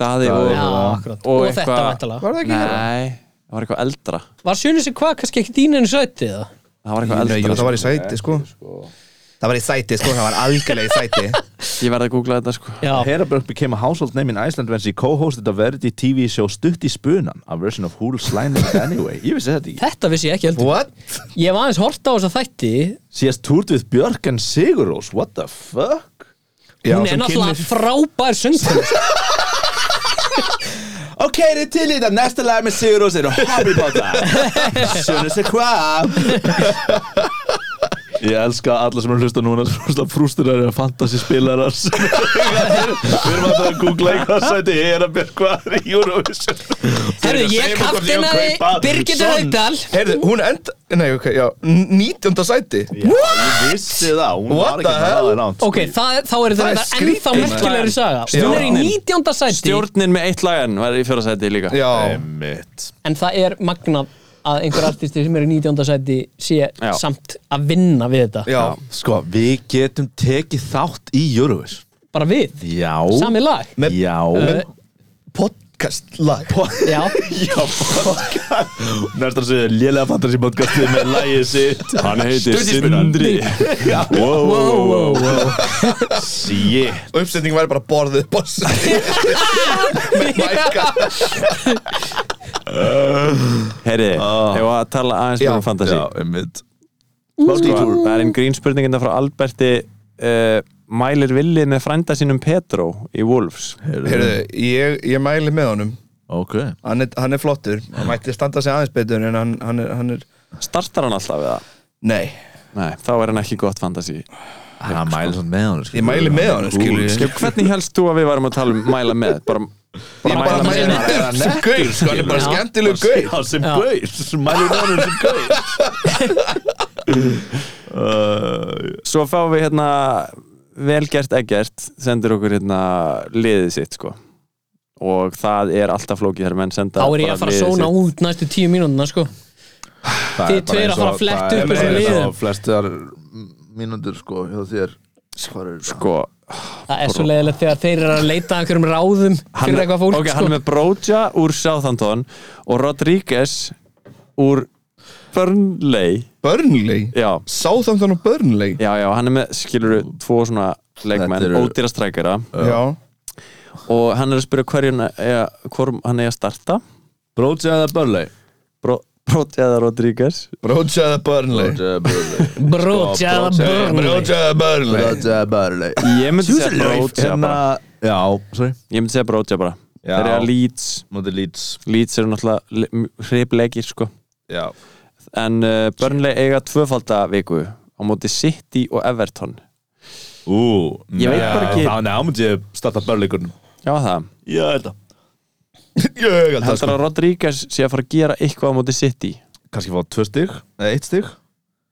S4: Daði
S3: Já,
S4: og,
S3: akkurat, og, þetta vantala
S6: var það ekki hérna?
S4: nei, það var eitthvað eldra
S3: Var sjönu sem hvað, kannski ekki þín enn sæti eða?
S4: það var eitthvað
S6: Nei,
S4: eldra
S6: jú, það var í sæti sko Það var í sæti sko, það var algjörlega í sæti
S4: Ég verði að googla þetta sko
S3: Já,
S2: Hera Björk became a household name in Iceland when she co-hosted a variety TV show Stutt í spunan a version of Who'll Slime It Anyway Ég vissi þetta ekki
S3: þetta vissi ég ekki heldur
S6: What?
S3: Ég hef aðeins hort á þessa þætti
S2: She has toured with Björk and Sigurós What the fuck?
S3: Hún er náttúrulega frábær söngkona
S2: Ok, þið til í þetta næsta lag með Sigurós er Happy About That Sjónu sér hvað Ég elska alla sem er að hlusta núna svona frústurar eða fantasispilarar sem eru Við erum að það að googla eitthvað sæti Hera Björk hvað er í Eurovision
S3: Herðu, ég kaftinaði Birgitur Haugdal
S6: Heyrðu, hún enda, nei ok, já, 19. sæti
S2: What? Ég vissi það, hún
S6: What
S2: var ekki
S6: the
S2: að hafa
S6: hell?
S2: það langt
S3: Ok, það, þá er
S6: Það er
S3: þetta
S6: skrítið,
S3: ennþá
S6: maður.
S3: merkilegri saga Hún er í 19. sæti
S4: Stjórnin með eitt lag enn var í fjóra sæti líka
S6: Já,
S2: Mitt
S3: En það er magnað að einhver artisti sem er í 19. sæti sé
S4: Já.
S3: samt að vinna við þetta
S6: já,
S2: Sko, við getum tekið þátt í Eurovision
S3: Bara við,
S2: Já
S3: sami lag
S6: Með-
S2: Já
S3: Uh,
S6: podcast lag
S3: Já,
S2: Já, podcast Næsta séu lélega fantasy podcastið með lægið sitt Hann heitir Sindri Wow, wow, wow, wow Shit
S6: Og uppsetningin væri bara borðið boss Með mæka
S4: Heyri, hefur að tala aðeins
S6: Já,
S4: mjög um fantasy
S2: Já, einmitt
S4: sko, Það er einn grínspurninginda frá Alberti uh, Mælir Villi með frænda sínum Petro í Wolves
S6: Heyrðu, ég, ég mæli með honum
S2: Ok
S6: Hann er, hann er flottur, hann mætti standa sig aðeins betur En hann, hann, er, hann er,
S4: Startar hann alltaf við það?
S6: nei
S4: Nei, þá er hann ekki gott fantasy
S2: Það mæli svo með honum
S6: Ég mæli með honum, skilur ég
S4: Skef, Hvernig helst þú að við varum að tala um mæla með? Bara, bara
S6: Ég bara
S4: mæla
S6: mæli
S4: með
S6: með honum sem gaur, sko Hann er bara
S3: Já.
S6: skemmtileg gaur
S2: Hann sem gauð Mæli með honum sem gauð Uh,
S4: Svo fáum við hérna velgert ekkert sendur okkur hérna liðið sitt sko og það er alltaf flókið þegar menn senda
S3: þá er ég að fara að sóna út næstu tíu mínúndina sko Þið
S2: Það er bara
S3: tveir að
S2: eins og-
S3: fara að fletta
S2: það
S3: upp
S2: er
S3: þessum
S2: eins og
S3: liðum.
S2: Flestar mínútur sko hjá þér Hvað er það?
S4: sko,
S3: Það er svo leiðilegt þegar þeir eru að leita að einhverjum ráðum
S4: hann,
S3: fyrir eitthvað fólk
S4: ok,
S3: sko.
S4: hann er með Broja úr Southampton og Rodríguez úr Burnley
S6: Burnley
S4: já,
S6: Southampton og Burnley
S4: já, já, hann er með skiluru tvo svona leikmenn,
S2: Þetta
S4: eru...
S2: eru-
S4: ódýrastrækara
S6: Já,
S4: og hann er að spyrja hverjum hvor hann er að starta
S2: Brótsi eða Börlei?
S4: Bro, Broja eða Rodríguez
S6: Broja eða Burnley
S2: Brótsi eða Börlei
S6: sko,
S3: Broja eða Burnley
S2: Broja-
S6: Broja eða Burnley
S2: Brótsi eða Börlei
S4: ég myndi segja Broja
S2: Hérna,
S4: bara
S2: já, sorry
S4: ég myndi segja Broja bara
S2: Já.
S4: þeir eru að Leeds
S2: Móti Leeds
S4: Leeds eru náttúrulega hreiplegir sko
S2: Já
S4: en uh, Burnley eiga tvöfaldaviku á móti City og Everton
S2: Ú,
S4: Ég veit bara ekki-
S2: Ná, ná, myndi ég starta Börleikunum
S4: Já, það.
S5: Ég held að Ég held að
S4: Heldur
S5: sko
S4: að Rodríguez sé að fara að gera eitthvað á móti City?
S2: kannski fá tvö stig, eða eitt stig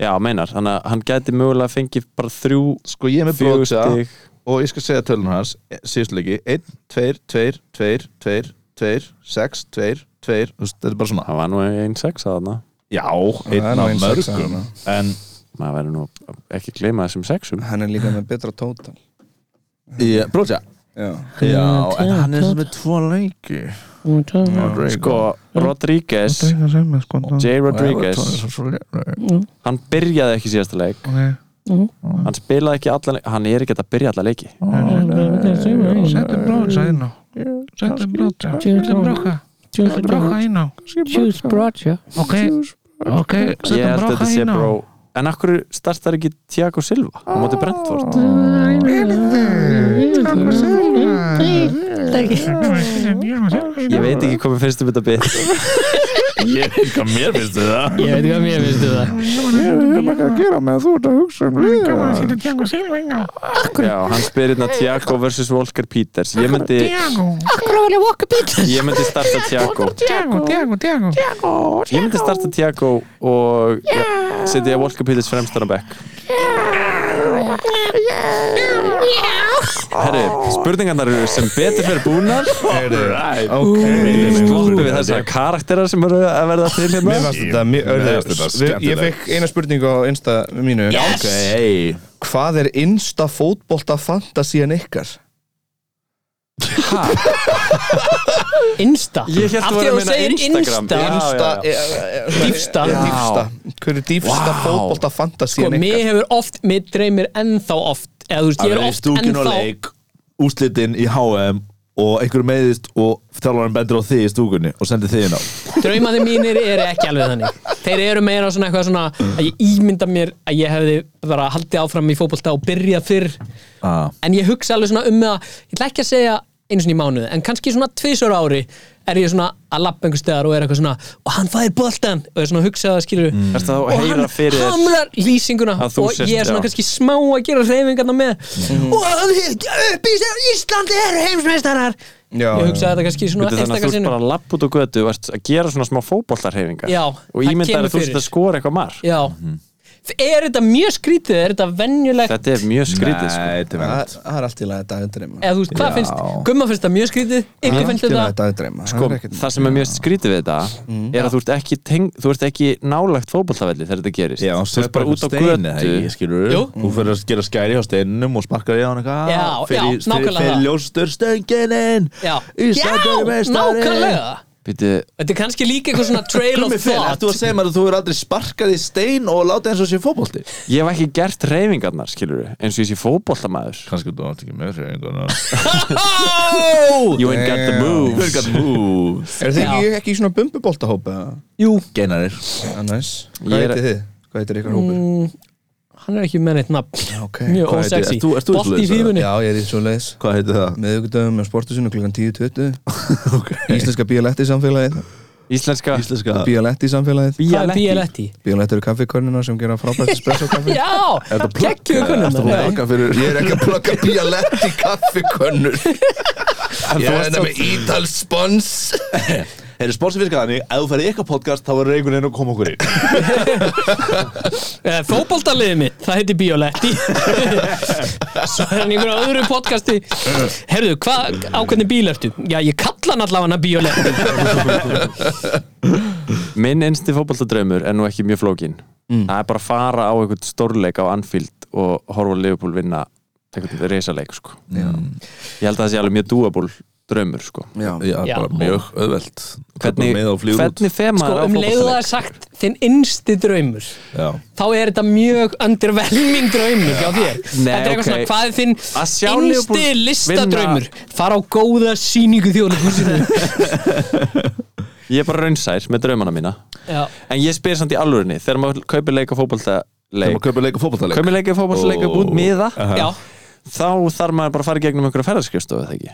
S4: Já, meinar. Þannig að hann gæti mögulega að fengi bara þrjú,
S2: sko ég er með
S4: fjögur
S2: bróksa
S4: stig.
S2: og ég skal segja tölun hans E, síðustu leiki, 1, 2, 2, 2 2, 2, 6, 2 2, þetta er bara svona
S4: Það var nú einn sex að þarna.
S2: já, einn
S6: nú
S2: af
S6: ein sex að
S2: mörgum
S6: hana.
S2: en
S4: Maður verður nú að ekki að gleyma þessum sexum.
S6: Hann er líka með betra tótal
S2: bróksa,
S6: Já,
S2: já, en hann er sem með tvo leiki
S4: Sko, Rodríguez, J. Rodríguez, hann byrjaði ekki síðasta leik. Hann spilaði ekki alla leiki. Hann er ekki að byrja alla leiki.
S9: Settu bróðsa inn á Settu bróðsa Settu bróðsa Settu bróðsa inn á
S3: Juice Brocha
S9: Ok Ok
S4: Ég
S9: Settu
S4: held að
S9: bróðsa
S4: þetta sé
S9: inn á
S4: bró... En akkur startar ekki Tiago Silva á móti Brentford? Ég veit ekki hvað mér finnst um þetta bit.
S2: ég veit hvað mér finnst þið það
S3: Ég veit ekki hvað mér finnst um það
S4: Já, hann spyr hérna Tiago vs. Volker Peters. Ég myndi... Ég myndi starta Tiago.
S9: Tiago, Tiago, Tiago
S4: Ég myndi starta Tiago og yeah. setja Volker Peters fremstan á bekk. Herri, spurningarnar eru sem betur fyrir búnar. Sloppið við þessar karakterar sem eru að verða til
S6: Mér
S4: hérna.
S6: fannst þetta mjög
S2: fannst þetta
S6: örðið Ég
S2: skemmtilegt.
S6: fekk eina spurningu á Insta mínu
S2: ok, hey.
S6: Hvað er Insta fótbolta fantasían ykkar?
S3: Insta
S4: Ég hélt
S3: Af
S4: að
S3: því
S4: vera að
S3: þú
S4: meina
S3: segir
S4: Instagram. Já.
S6: Insta
S3: Dýpsta.
S6: Dýfsta Hver er dýfsta
S4: Vá.
S6: fótbolta
S3: Sko,
S6: fantasían
S3: mér
S6: ykkar?
S3: hefur oft, mér dreymir ennþá oft eða þú veist,
S2: að
S3: ég er
S2: vera í
S3: oft
S2: stúkinu
S3: ennþá
S2: leik úslitin í HM og einhver meiðist og þjálfarinn bendur á þig í stúkunni og sendir þig inn á
S3: draumaði mínir eru ekki alveg þannig þeir eru meira svona eitthvað svona að ég ímynda mér að ég hefði bara haldið áfram í fótbolta og byrjað fyrr
S2: ah.
S3: en ég hugsa alveg svona um með að ég ætla ekki að segja einu svona í mánuði, en kannski svona tvisur ári er ég svona að lappa einhver stegar og er eitthvað svona, og hann fær boltan og er svona að hugsa það skilur mm.
S4: Ertu þá
S3: og
S4: að
S3: hann
S4: heyra fyrir þér?
S3: hamrar lýsinguna
S4: Að þú
S3: og
S4: sért-
S3: ég er
S4: já.
S3: svona
S4: Mm.
S3: kannski smá að gera reyfingarna með og hann upp í sig Íslandi eru heimsmeistarar
S6: Já,
S3: ég hugsa þetta kannski svona
S4: Veitu, þannig að þú ert
S3: einstakarsinu
S4: bara að lappa út á götu og ert að gera svona smá fótbollarhefingar
S3: Já,
S4: og
S3: það
S4: ímyndar að
S3: kemur
S4: þú sért
S3: fyrir.
S4: að skora eitthvað marg
S3: já er þetta mjög skrítið, er þetta venjulegt
S4: Mhm. þetta er mjög skrítið sko.
S2: Nei, þetta er verið
S6: Það það er allt í lagi að dagdreima
S3: eða þú veist, hvað finnst, gumma finnst það mjög skrítið
S6: Það
S3: ykkur
S6: er
S3: finnst
S6: allt í lagi að
S3: þetta,
S6: dagdreima
S4: Sko, það sem er mjög skrítið við þetta
S3: Mm.
S4: er að þú ert ekki, teng, þú ert ekki nálægt fótboltavelli þegar þetta gerist
S2: Já,
S4: þú ert bara út á
S2: steinu
S4: götu
S2: skilur
S3: Jú.
S2: Þú fyrir að gera skæri á steinum og sparkar í hann eitthvað
S3: Já, já,
S2: fyrir,
S3: nákvæmlega
S2: Fyrir
S3: það.
S2: ljóstur stöngininn
S3: já,
S2: Ísland er
S3: já,
S2: meistari.
S3: nákvæmlega
S4: Býtu,
S3: Þetta er kannski líka eitthvað svona trail of
S2: Gummi fyrir, ertu
S3: thought
S2: að segja mér að þú er aldrei sparkað í stein og láta eins og sé fótbolti?
S4: ég hef ekki gert reyfingarnar skilur eins og ég sé fótboltamaður
S2: Kannski þú átt ekki með sér einhvern
S4: you ain't got the moves
S2: Moves
S6: Er þið ekki,
S3: Já.
S6: ekki í svona bumbuboltahópa?
S3: Jú,
S2: Geinarir
S6: Annars
S4: Ég er-
S6: Hvað heitir þið? Hvað heitir ykkar hópur?
S3: hann er ekki með neitt nafn
S6: ok.
S3: Mm, Mjög
S2: Hvað heitir-
S3: ósexy
S2: ert þú- ert þú
S3: Bolt í
S2: svoleiðis,
S3: fífunni
S6: Já, ég er í svo leiðis
S2: Hvað heitir það?
S6: Meðugdöfum með sportusinu klukkan 10.20 Íslenska Bíaletti samfélagið
S4: íslenska
S2: Íslenska
S6: Bíaletti samfélagið
S3: Það er
S4: bíaletti
S3: Bialetti
S6: Bíaletti eru kaffikornina sem gera frábært espresso kaffi
S3: Já, geggjuðu kunnum
S2: Ertu að plaka fyrir
S6: Ég er ekki að plaka Bíaletti kaffikörnur Ég er þetta með ítal spons
S2: Þeir eru spórsið virkað þannig, ef þú ferði í eitthvað podcast þá verður einhvern veginn að koma okkur í
S3: Fóbaltaliðið mitt, það heiti Bialetti Svo er hann í einhverju öðru podcasti Herðu, hvað ákveðni bíl ertu? Já, ég kalla hann allavega hana Bialetti
S4: minn einsti fótboltadraumur er nú ekki mjög flókin
S3: Mm.
S4: það er bara að fara á einhvern stórleik á Anfield og horfa á Liverpool vinna einhvern reysaleik sko.
S3: Mm.
S4: ég held að það sé alveg mjög dúabúl draumur sko.
S2: Já,
S3: Já.
S2: bara mjög auðvelt Hvernig
S4: hvernig,
S2: með og flýgur út
S4: hvernig fema
S3: Sko, um leiðu það er sagt þinn innsti draumur
S2: Já.
S3: þá er þetta mjög undervelming draumur hjá
S4: Nei,
S3: þér Þetta er eitthvað
S4: ok.
S3: svona, hvað er þinn
S4: Að sjá Liverpool
S3: innsti
S4: vinna-
S3: listadraumur fara á góða sýningu þjóðleikhúsinu
S4: ég er bara raunsær með draumana mína
S3: Já,
S4: en ég spyr samt í alvörinni þegar maður kaupir leik á
S2: Þegar maður
S4: fótboltaleik
S2: kaupir leika fótballtaleik
S4: kaupir leik á fótboltaleik upp út miða
S3: já,
S4: þá þarf maður bara að fara í gegnum einhverja ferðarskristofu eða ekki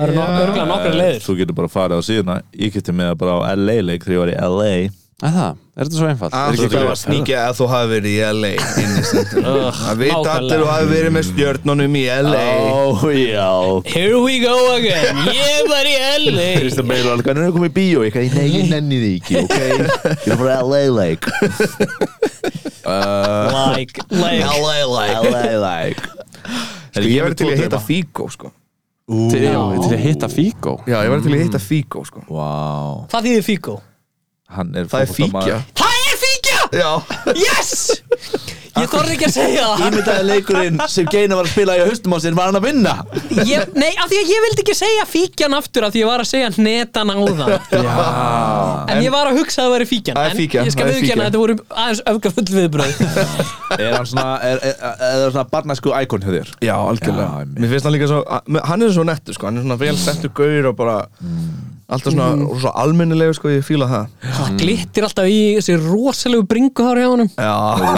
S3: það eru nokkuð nokkra leiðir
S2: Þú getur bara farið á síðuna Ég geti með það bara á LA leik þegar ég var í LA
S4: Er það? Er þetta svo einfalt? Er
S5: Þú
S4: ekki
S5: þarf að sníkja að þú hafi verið í LA inn í sentunum Það veit allir að þú hafi verið með stjörnunum í LA
S2: Ó, já
S3: Here we go again, ég var í LA
S2: Kristján Bale var alveg, hann er að koma í bíó Ég nei, ég nenni því ekki, ok Ég er bara LA like Uh,
S3: Like, like
S5: LA like
S2: LA like
S5: Sko ég verið til í að hitta Figo sko
S4: til, já, til að hitta Figo
S5: Já ég verið til í að hitta Figo sko
S2: Vá
S3: Hvað þýðir fíkó?
S2: Hann er
S5: Það er fíkja
S3: Það er fíkja!
S5: Já
S3: Yes! Ég þorði ekki að segja það
S2: Ímyndaði leikurinn sem Geina var að spila í haustum á sér var hann að vinna
S3: ég, Nei, af því að ég vildi ekki segja fíkjan aftur af því ég var að segja hnetan á það En ég var að hugsa að það væri fíkjan
S5: Það er
S3: En
S5: fíkjan,
S3: ég skal
S5: það er fíkjan.
S3: viðkjanna að þetta voru aðeins öfgafull viðbröð
S2: Er hann svona, er, er, er, er hann svona barnæsku íkon hjá þér?
S5: Já algjörlega
S2: Já, einmitt.
S5: Mér finnst hann líka svo Hann er svo nettur sko Hann er svona vel settur gaur og bara Alltaf svona
S2: Mhm.
S5: Svo almennilegu sko Ég fíla það
S3: Það glittir alltaf í þessi rosalegu bringuhár hjá honum
S5: Já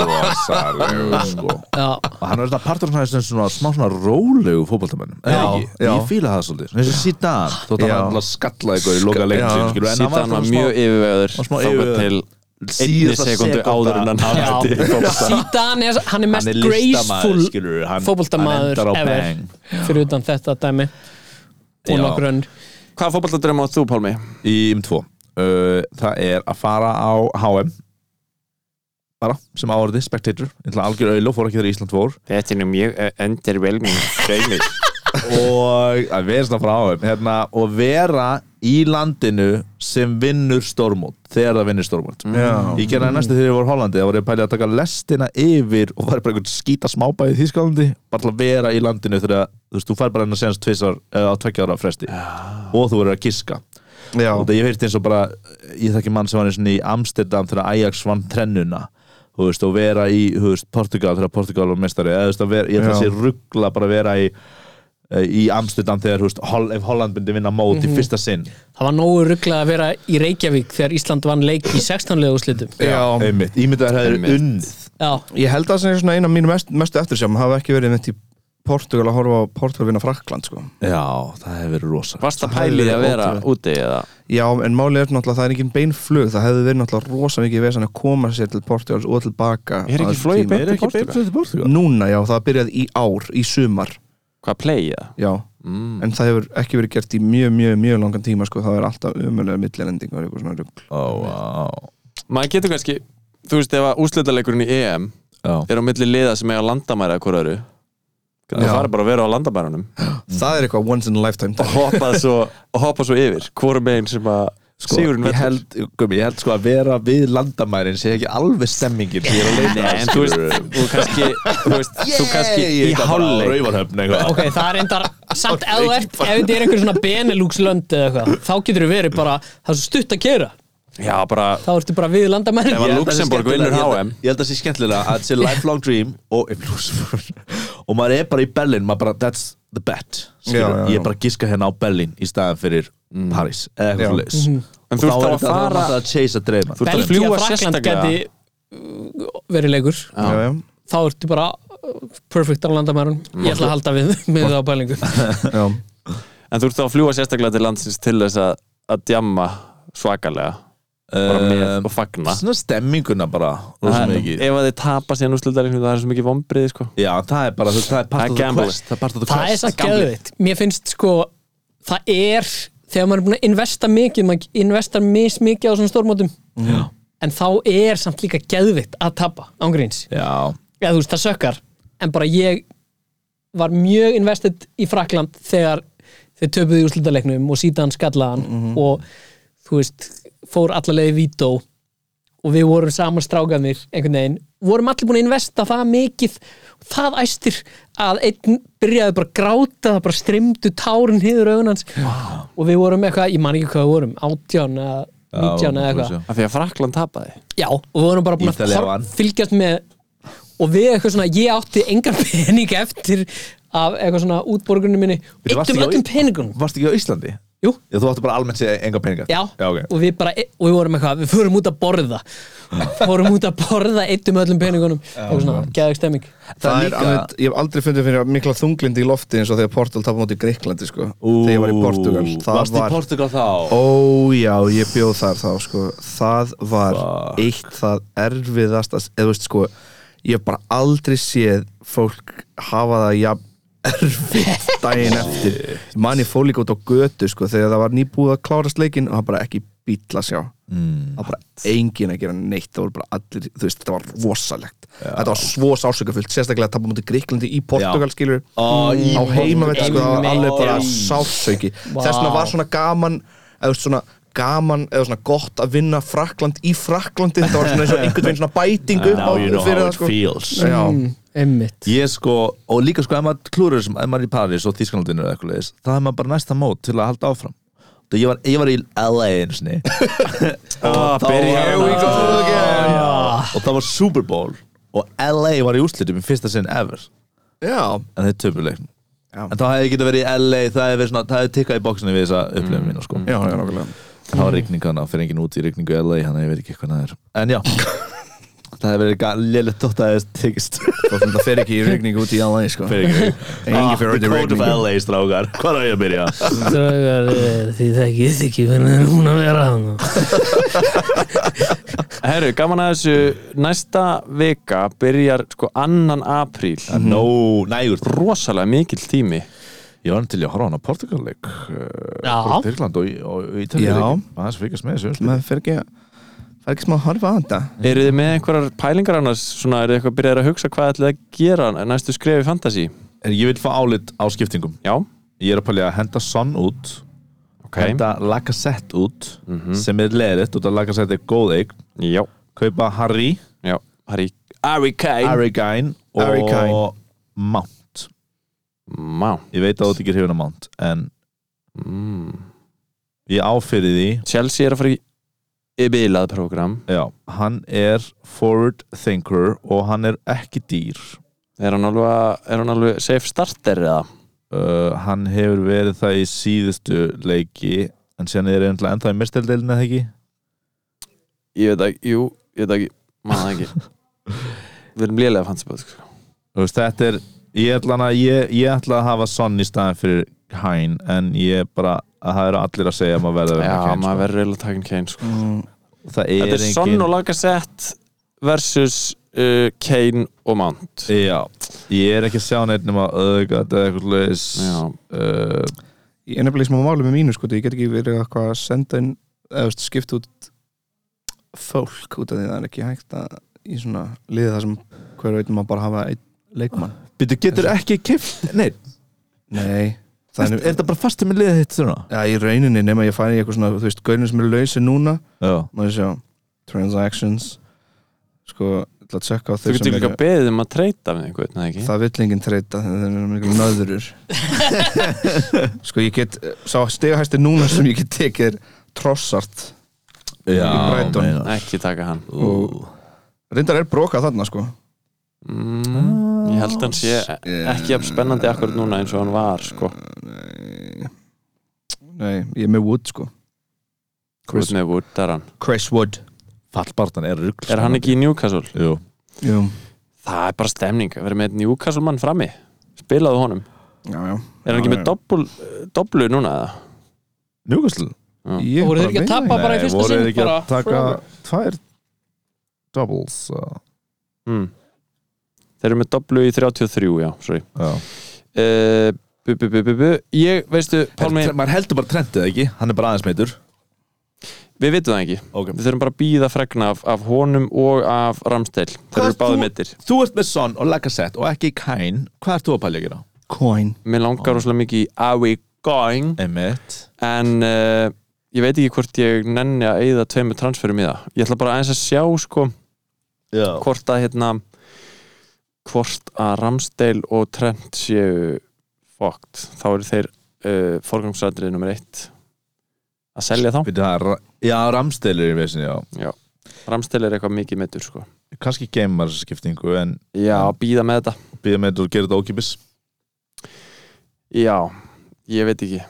S2: Rosalegu sko
S3: Já,
S2: Ah. Og hann er svona partur af þessum svona smá svona rólegu fótboltamennum er það
S5: Já,
S2: ekki?
S5: já.
S2: Ég fíla það svolítið Þessi Zidane Þótt
S5: Já.
S2: að hann alveg skallaði ykkur í loka leikum
S5: já.
S2: sínum skilur, en hann
S4: Sittan var
S2: svona
S4: mjög yfirvegaður
S2: var smá
S4: Þákar til
S2: yfirvegaður. smá-
S4: einni
S2: síðasta
S4: sekundu
S2: sekúnda.
S4: áður en hann hætti
S3: Sítan er, hann er mest
S2: Hann er listamaður
S3: graceful
S2: skilur hann, hann
S3: fótboltamaður
S2: endar á
S3: ever
S2: bang
S3: fyrir utan þetta dæmi
S2: Já.
S3: og nokkur önn
S4: Hvað fótballtadröma átt þú, Pálmi?
S2: Í um tvo uh, Það er að fara á HM Bara sem áorði Spectator Ég ætla algjör auðlu Fór ekki þegar Ísland fór
S4: Þetta er nú mjög e, underwhelming Greimi
S2: og að vera svona frá þeim hérna, og vera í landinu sem vinnur stórmót þegar það vinnur stórmót
S5: Já.
S2: ég gerði það næstu þegar ég var í Hollandi þá var ég pælið að taka lestina yfir og var bara einhvern skýta smábæði þýskalandi bara til að vera í landinu þegar þú veist, þú fær bara hennar senast tvisar á tveggja ára fresti og þú verður að giska
S5: Já
S2: og það ég heyrti eins og bara ég þekki mann sem var eins og í Amsterdam þegar Ajax vann trennuna þú veist, og vera í þú veist, Portugal þegar Portugal var mestari eða, þú veist, að vera, ég ætla að
S5: Já.
S2: sé ruggla bara að vera í eh, í Amsterdam þegar þú veist, Hol ef Holland myndi vinna mót í fyrsta sinn
S3: Það var nógu rugglað að vera í Reykjavík þegar Ísland vann leik í 16 liða úrslitum
S5: Já.
S2: einmitt, ímyndaður hefur
S4: Einmitt.
S2: unnið
S3: Já,
S5: Ég held að það er svona eina af mínu mest, mestu eftirsjáum hafa ekki verið mitt í Portugal að horfa á Portugal vinna Frakland sko.
S2: já, það hefur verið rosa
S4: Varst það pælið að vera úti eða?
S5: Já, en málið er náttúrulega að það er engin beinflug það hefði verið náttúrulega rosa mikið vesan að koma sér til Portugals og tilbaka
S4: Er ekki
S5: á
S4: flogið
S5: tíma.
S4: beint til Portugal?
S2: beint til Portugal
S5: Núna, já, það byrjaði í ár, í sumar
S4: Hvað play eða?
S5: Já,
S4: Mm.
S5: en það hefur ekki verið gert í mjög, mjög, mjög langan tíma sko, það er alltaf umöðlega millilending og eitthvað svona rugl
S2: ó, wow.
S4: Maður getur kannski, þú veist, ef að úrslitaleikurinn í EM
S2: Já.
S4: er á milli liða sem eiga landamæri að hverju öru Það
S5: Já.
S4: fara bara að vera á landamærunum
S5: Það er eitthvað once in a lifetime
S4: og hoppa svo, og hoppa svo yver Hvorum meginn sem að
S2: Sko,
S4: Sigurinn
S2: ég
S4: vetur
S2: held, gumi, ég held sko að vera við landamærin sé ekki alveg stemmingin sem ég er að leita
S4: Nei,
S2: að,
S4: en þú veist,
S2: skilurðu.
S4: þú kannski, þú veist, þú kannski í hálfleik
S2: Rauvarhöfn eitthvað
S3: ok, það er endar samt ef þú ert, ef þetta er einhver svona Benelux lönd eða eitthvað, þá getur þú verið bara það er svo stutt að gera,
S4: Já, bara,
S3: þá ertu bara við landamærin
S4: Ef að
S2: Ég held að sé
S4: Luxemborg
S2: skemmtilega-
S4: vinnur
S2: ég held að-
S4: HM.
S2: Ég held að það sé skemmtilega að þetta sé lifelong dream og, eh, Luxemborg. og maður er bara í Berlin maður bara, that's the bet já,
S5: Já, já, já.
S2: ég er bara að giska hérna á Berlin í staðan fyrir Paris eða
S5: Já.
S2: eitthvað leis
S4: en þú veist þá að fara
S2: að chase að dreima
S4: Þú ert að
S3: Belgía,
S4: fljúga
S3: Frakland
S4: sérstaklega
S3: geti uh, verið leikur
S5: Já, já,
S3: þá ertu bara uh, perfect á landamærun ég ætla að halda við með það á bælingu
S5: já,
S4: En þú ert þá að fljúa sérstaklega til landsins til þess að, að djamma svakalega bara með og fagna
S2: svona stemminguna bara rosa
S4: En
S2: mikið.
S4: Ef að þið tapa síðan úrslitaleikurinn það er svo mikið vombriði sko
S2: já, það er bara þú veist, það er part
S4: Það
S2: of
S4: er
S2: the
S4: gambling.
S2: quest það er part of the
S3: það er
S2: quest
S3: satt geðvitt mér finnst sko, það er þegar maður er búin að investa mikið maður investar mis mikið á svona stórmótum Já. en þá er samt líka geðvitt að tapa ángríns
S2: já,
S3: eða þú veist, það sökkar en bara ég var mjög investið í Frakland þegar þau töpuðu í úrslutaleiknum og síðan skallaðan og þú veist, fór alla leiði vító og við vorum saman strákanir einhvern veginn, vorum allir búin að investa það mikið, það æstir að einn byrjaði bara að gráta það bara strimdu tárin hiður augun hans wow. og við vorum eitthvað, ég man ekki hvað við vorum 18 eða 19 eða eitthvað
S4: Af því að Frakland tapaði
S3: Já, og við vorum bara búin að
S2: Ítalía
S3: horf-
S2: vann.
S3: fylgjast með og við eitthvað svona, ég átti engan pening eftir af eitthvað svona útborgunum minni
S2: varstu
S3: eittum
S2: ekki á
S3: öllum
S2: Í-
S3: peningunum
S2: varst ekki á Íslandi?
S3: Jú.
S2: Já, þú áttu bara almennt segja enga peninga
S3: Já,
S2: Já, ok.
S3: og við bara, e- og við vorum eitthvað, við fórum út að borða fórum út að borða eittum öllum peningunum og svona, geðug stemming
S6: Það er
S2: líka-
S6: alveg, ég hef aldrei fundið fyrir mikla þunglindi í lofti eins og þegar Portal tapum út í Greiklandi sko, þegar ég var í Portugal það
S2: Varst í
S6: var,
S2: Portugal þá?
S6: Ó já, ég bjóð þar þá sko Það var eitt það erfiðast að, eða þú veist sko Ég hef bara aldrei séð fólk hafa það jafn erfitt daginn eftir Ég Man ég fór líka út á götu sko þegar það var nýbúið að klárast leikinn og það bara ekki bíl að sjá mm. Það var bara engin að gera neitt það voru bara allir, þú veist, þetta var rosalegt Þetta var svo sásökafullt, sérstaklega að tapum út í Gríklandi í Portugal skilur
S2: Ó, í
S6: á heimavelli sko, það var
S3: Einmitt.
S6: alveg bara sátsauki þess vegna var svona gaman eða svona gaman eða svona gott að vinna Frakland í Fraklandi þetta var svona eins og einhvern veginn svona bæting upp á
S2: Now you know
S6: fyrir
S2: how
S6: það
S2: it
S6: sko
S2: feels
S6: Já,
S3: Emmitt
S2: Ég sko, og líka sko, ef maður klúður þessum, ef maður er í Paris og Þísklandinu eða eitthvað leiðis, það er maður bara næsta mót til að halda áfram. Það ég var, ég var í LA einu sinni.
S6: Ah,
S2: og,
S4: byrjaði
S2: var, Ah,
S4: það.
S2: og það var Super Bowl og LA var í úrslitum í fyrsta sinn ever.
S6: já,
S2: En þeir töpuleik.
S6: Já.
S2: En þá hefði getið verið í LA, það hefði verið svona, það hefði tikkað í bóksinu við þessa upplifum mínu sko.
S6: Mm, já, já, nákvæmlega
S2: En það var rigning hana, fyrir enginn út í rigningu í LA, hann hefði verið ekki eitthvað næður. En já, það hefði verið lélitt þótt að það hefði tekist.
S6: það fer ekki í regning út í LA sko
S2: Fyrir ekki.
S6: Engi fer út í
S2: Ah, Code of
S6: regning
S2: LA, strákar. Hvað er ég að byrja?
S3: Dragar, því eh, þekkið ekki hvernig er hún að vera hann
S4: Herru, gaman að þessu næsta vika byrjar sko annan apríl
S2: Mhm. Nó, nægur
S4: rosalega mikil tími
S2: Ég var til í að horfa á hana Portugal-leik eh,
S3: Já,
S2: Tyrkland og, og, og
S6: Já.
S2: Ítalíu-leik Það fylgjast með þessu
S6: maður fer ekki að fer ekki smá að horfa á þetta
S4: Eru þið með einhverjar pælingar annars svona, eru þið eitthvað byrjar að hugsa hvað ætlið að gera næstu skrefi fantasy?
S2: En ég vil fá álit á skiptingum
S4: Já,
S2: Ég er að pælja að henda Son út
S4: ok Mhm.
S2: Henda Lacazette út sem er leðitt út að Lacazette er góð eign
S4: Já,
S2: Kaupa Harry,
S4: já, Harry Harry Kane
S2: Harry Gain og
S6: Harry Kane.
S2: Mount
S4: Má
S2: Ég veit að þú ert ekki hrifin að Mount en
S4: mm.
S2: ég áfyrir því
S4: Chelsea er að fara í ybilað program
S2: Já, hann er forward thinker og hann er ekki dýr
S4: Er hann alveg, er hann alveg safe starter eða?
S2: uh, hann hefur verið það í síðustu leiki en síðan er einhverja ennþá í misteldeilin eða ekki
S4: Ég veit ekki, jú, ég veit ekki Maður það ekki Við erum lélega fantasy bóð sko.
S2: Þú veist, þetta er ég ætla, hana, ég, ég ætla að hafa sonn í staðin fyrir Hain en ég bara að það eru allir að segja að maður verða að
S4: Já,
S2: vera með Kane,
S4: maður verður eiginlega takin Kane sko.
S6: Mm.
S2: sko. það er
S4: Þetta er Son
S2: engin
S4: og Lacazette versus uh, Kane og Mount
S2: Já, ég er ekki að sjá neitt nema öðgat eða eitthvað leis
S4: Já,
S2: uh,
S6: ég er nefnilega í smá máli með mínu sko ég get ekki verið eitthvað að senda inn eða þú veist, skipta út fólk út af því það er ekki hægt að í svona liðið það sem hver veit maður bara hafa einn leikmann
S2: Býtu, getur ekki kipt Nei, er,
S6: nei, það
S2: er þetta bara fastið með liðið þitt svona?
S6: Já, í rauninni nema ég færi eitthvað svona, þú veist, gaurin sem eru lausi núna
S2: Já,
S6: Má ég sjá, transactions Sko, ég ætla að tjekka á
S4: þú
S6: þeir
S4: getur
S6: sem
S4: líka
S6: eru
S4: beðið um að treyta með einhvern, eða ekki?
S6: Það vill enginn treyta, þeir eru miklu nöðurur Sko, ég get, sá stegahæsti núna sem ég get tekið er Trossart
S2: já
S6: Brighton.
S2: meinar.
S4: Ekki taka hann
S6: og reyndar er brókað þarna, sko
S4: mm,
S6: Ah.
S4: Ég held hann sé ekki jafn spennandi akkur núna eins og hann var sko.
S6: Nei, nei ég er með Wood, sko Chris-
S4: Út með Wood, það er hann
S6: Chris Wood
S2: Fallbartan er rugl sko.
S4: Er hann ekki í Newcastle?
S2: Jú
S6: Jú,
S4: Það er bara stemning, að vera með Newcastle mann frammi Spilaðu honum
S6: já, já
S4: Er hann ekki með doppul, dopplu núna eða?
S2: Njúkastl
S6: Ég
S3: voru
S6: bara
S3: þeir ekki að
S6: veit
S3: tapa bara í fyrsta
S2: voru
S3: sinn
S2: þeir ekki
S3: bara
S2: að taka
S3: forever?
S2: tvær doubles uh,
S4: Mm. Þeir eru með dopplu í 33, já, sorry
S2: já.
S4: uh, bu, bu, bu, bu, bu. Ég, veistu, Pálmi,
S2: Er- maður heldur bara trendið ekki hann er bara aðeins meitur
S4: við vitum það ekki
S2: okay.
S4: Við þurfum bara að býða fregna af, af honum og af Ramstel Þeir
S2: Hvað
S4: eru
S2: ert
S4: báði
S2: þú-
S4: mittir
S2: þú ert með Son og Lacazette og ekki Kain hvað ert þú að pælja að gera?
S6: Coin
S4: Mér langar rosalega mikið í Are we going?
S2: Emmett
S4: En uh, ég veit ekki hvort ég nenni að eyða tveimur transferum í það Ég ætla bara aðeins að sjá sko
S2: já
S4: hvort að hérna hvort að Ramstel og Trent séu fókt Þá eru þeir uh, forgangsrætrið nummer eitt að selja þá
S2: Við það er, já, Ramstelur í vissin, já
S4: Ramstel er eitthvað mikið mittur sko
S2: kannski geimar þessa skiptingu en
S4: Já, býða með þetta
S2: býða meitur og gera þetta ókipis
S4: Já, ég veit ekki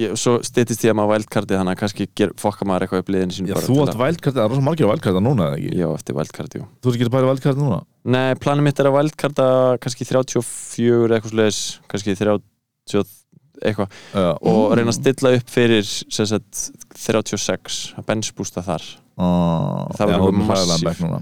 S4: ég, svo styttist ég að maður vældkarti þannig að kannski ger, fokka maður eitthvað upp liðinu sín
S2: Já, þú átt vældkarta, það er rosa margir vældkarta núna eða ekki?
S4: Já, eftir vældkarti, jú
S2: Þú ert ekki að bæra vældkarta núna?
S4: Nei, planið mitt er að vældkarta kannski 34 eitthvað slags kannski 30 eitthvað
S2: Já,
S4: og reyna að stilla upp fyrir sem sagt, 36 að benchbústa þar
S2: Ah,
S4: Það verður
S2: verður
S4: massíf.
S2: massíf núna.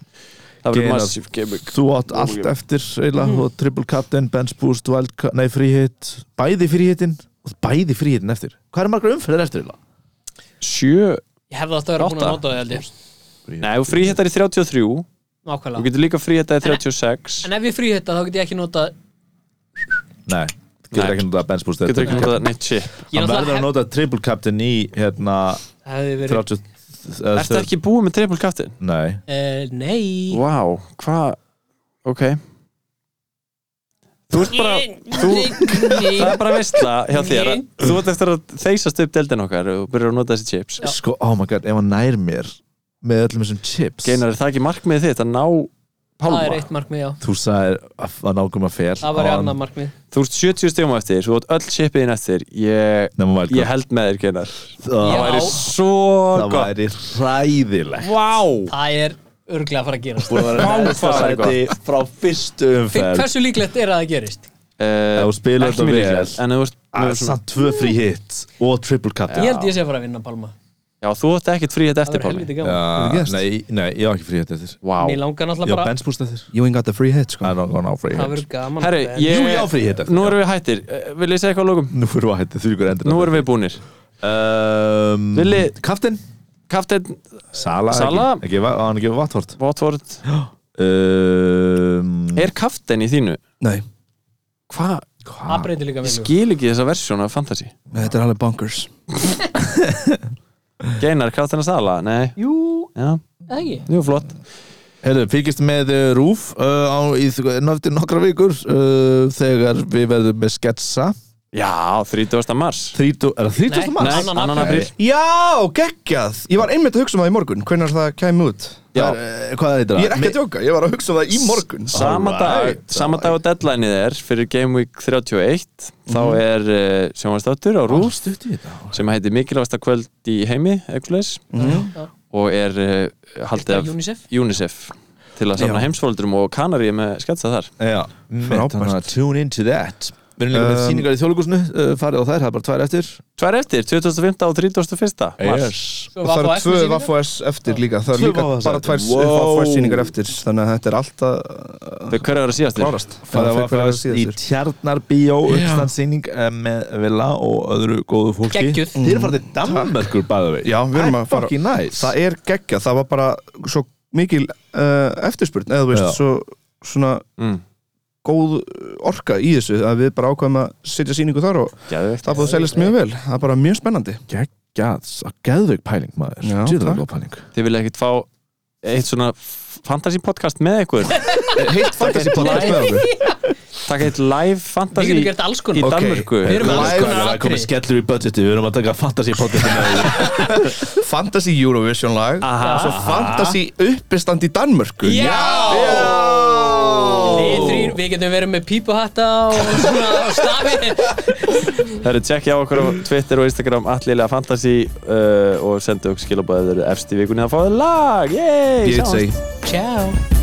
S4: það verður
S2: Geinar.
S4: massíf gaming
S2: Þú átt allt eftir eiginlega,
S3: Mm.
S2: þú átt triple cut-in, bench boost, wild cut, nei fríhitt Bæði fríhittin og bæði fríhittin eftir Hvað er margar umferðir eftir eiginlega?
S4: sjö,
S3: Ég hefði átt að vera búin að
S4: Átta.
S3: nota það held ég
S4: nei, og fríhettar í 33 þú
S3: Nákvæmlega
S4: getur líka fríhettar í 36
S3: En ef ég fríhetta þá get ég ekki nota
S2: Nei, þú getur
S4: Nei.
S2: ekki notað bench boost
S4: getur
S2: eftir
S4: ekki notað neitt chip
S3: Ég
S2: Hann verður að
S3: náttúrulega
S2: nota triple captain í hérna
S3: hefði verið
S2: 30
S4: Ertu ekki búið með triple captain?
S2: Nei,
S3: Eh,
S4: Vá,
S3: Nei
S4: wow, hvað ok þú ert bara þú, það er bara veistla hjá þér að þú ert eftir að þeysast upp deildin okkar og byrjar að nota þessi chips
S2: sko, oh my god, ef hann nær mér með öllum þessum chips
S4: Geinar, er það ekki markmið þitt að ná
S3: Það er
S4: pálma?
S3: eitt markmið, já
S2: Þú sagðir að að nákvæm að fel
S3: Það var í annað markmið
S4: Þú ert 70 stjóma eftir, þú ert öll chipiðin eftir ég, ég
S2: Nefnum vældkart
S4: held með þér, Geinar
S2: Það
S3: Já.
S2: væri-
S4: Svo
S2: það
S4: gott
S2: væri hræðilegt
S4: Vá,
S3: Það er örglega að fara að gerast
S2: Búin að vera
S4: Vá,
S2: neðsta
S4: það væri
S2: sæti frá fyrstu
S3: Fyrir
S2: umferð
S3: Hversu líklegt er að það gerist?
S4: Eh,
S2: Ef þú spilar
S4: ekki
S2: þetta
S4: mjög
S2: vel.
S4: vel En þú ert
S2: Ah,
S4: með svona-
S2: Samt tvö frí hitt og triple captain
S3: Ég held ég sé að fara að vinna Palma
S4: Já, þú ert ekkert frí þetta
S3: Það
S4: eftir
S3: verður
S4: pálmi
S3: helviti gaman
S2: Já, nei, nei, ég á ekki frí hitt eftir
S4: Vá
S3: Mér langar
S2: Ég á
S3: náttúrulega bara
S2: bench boost eftir
S7: You ain't got the free hit sko
S2: I don't gonna free
S3: Það
S2: hit
S3: verður gaman
S4: Herri,
S3: Ben.
S4: ég
S2: Jú, ég á frí hitt eftir
S4: Nú erum við hættir, Eh, vil ég segja eitthvað á lókum?
S2: Nú erum við að hætti þrjúkur endur
S4: Nú erum við búnir
S2: um,
S4: Villi-
S2: Kaftin
S4: Kaftin,
S2: Sala,
S4: Sala.
S2: Ekki, ekki, va- á hann ekki vatthort
S4: Watford
S2: um,
S4: Er kaftin í þínu?
S7: Nei,
S4: Hvað?
S3: Það breytir líka
S4: Ég
S3: mér
S4: skil ekki þessa versjón af fantasy
S7: þetta er alveg bonkers
S4: Geinar, kaftin að sala? Nei
S3: Jú,
S4: Já,
S3: eða ekki
S4: jú, flott
S2: Herru, fylgist með uh, Rúf uh, á, í náttúrulega nokkra vikur uh, þegar við verðum með sketsa
S4: Já, 30. mars
S2: 30, er það 30.
S3: Nei,
S2: mars?
S3: annan
S4: annan apríl.
S6: Já, geggjað Ég var einmitt að hugsa um það í morgun Hvenær það kæmi út
S2: Já, uh, hvað heitir það?
S6: Ég er ekki að djóka, ég var að hugsa um það í morgun
S4: Sama dag, sama dag og deadlineið er fyrir Game Week 31 þá er uh, sjónvastáttur á Rúf
S2: stutt í þetta
S4: sem heitir mikilvægasta kvöld í heimi eitthvað
S3: Já.
S4: og er uh, haldið af
S3: UNICEF
S4: UNICEF til að safna heimsfóldrum og kanaríu með sketsa þar
S2: Já,
S6: Frábært.
S2: þannig að tune into that Við erum líka með
S6: Um,
S2: sýningar í þjóðlugusinu uh, farið á þær, það er bara tvær eftir
S4: Tvær eftir, 25. og 31. mars
S3: Svo
S6: Og það
S3: Vaffa
S6: eru tvö
S3: S-sýningar.
S6: Vaffos eftir líka Það
S2: Tvö
S6: eru líka
S2: Vaffa S
S6: bara tvær
S2: eftir. Wow.
S6: Vaffos síningar eftir Þannig að þetta er alltaf
S4: Þau hverju eru síðastir?
S6: klárast
S2: Það
S6: Þannig að
S2: var
S6: það er
S2: fyrst í
S6: síðastur
S2: Tjarnarbíó uppstandsýning eh, með Villa og öðru góðu fólki
S3: Geggjuð.
S2: Þið erum farið til Danmarkur bæðu við
S6: Já, við erum að fara
S2: Fucking nice
S6: Það er geggjað, það var bara svo mikil uh, eftirspurn eða þú veist,
S2: Já.
S6: svo svona
S4: Mm.
S6: góð orka í þessu að við bara ákvæðum að setja sýningu þar og
S4: Geðveikt.
S6: það búið að seljast mjög vel það er bara mjög spennandi
S2: Gæðs, geðveik pæling maður
S6: Já,
S2: Djöfull er
S6: takk.
S2: góð pæling
S4: Þið vilja ekkert fá eitt svona fantasy podcast með ykkur
S6: Heitt fantasy podcast með okkur
S4: Takk eitt live
S3: Við
S4: fantasy
S3: getum gert alls
S4: í
S3: konar
S6: Ok.
S4: Danmörku
S3: Við erum með alls
S6: Live-
S3: konar
S2: Það er komið
S3: atrið
S2: skellur í budgeti, við erum að taka fantasy podcastin með því
S6: Fantasy Eurovision lag
S4: Aha.
S6: og svo fantasy uppistand í Danmörku
S3: Já! Við þrír, við getum verið með pípuhatta og svona stafi
S4: Það eru tjekkja á okkur á Twitter og Instagram allilega fantasy uh, og sendu okkur skilabæður efst í vikunni að fá það lag Yay,
S6: Ég
S4: sjáumst.
S6: segi
S3: Ciao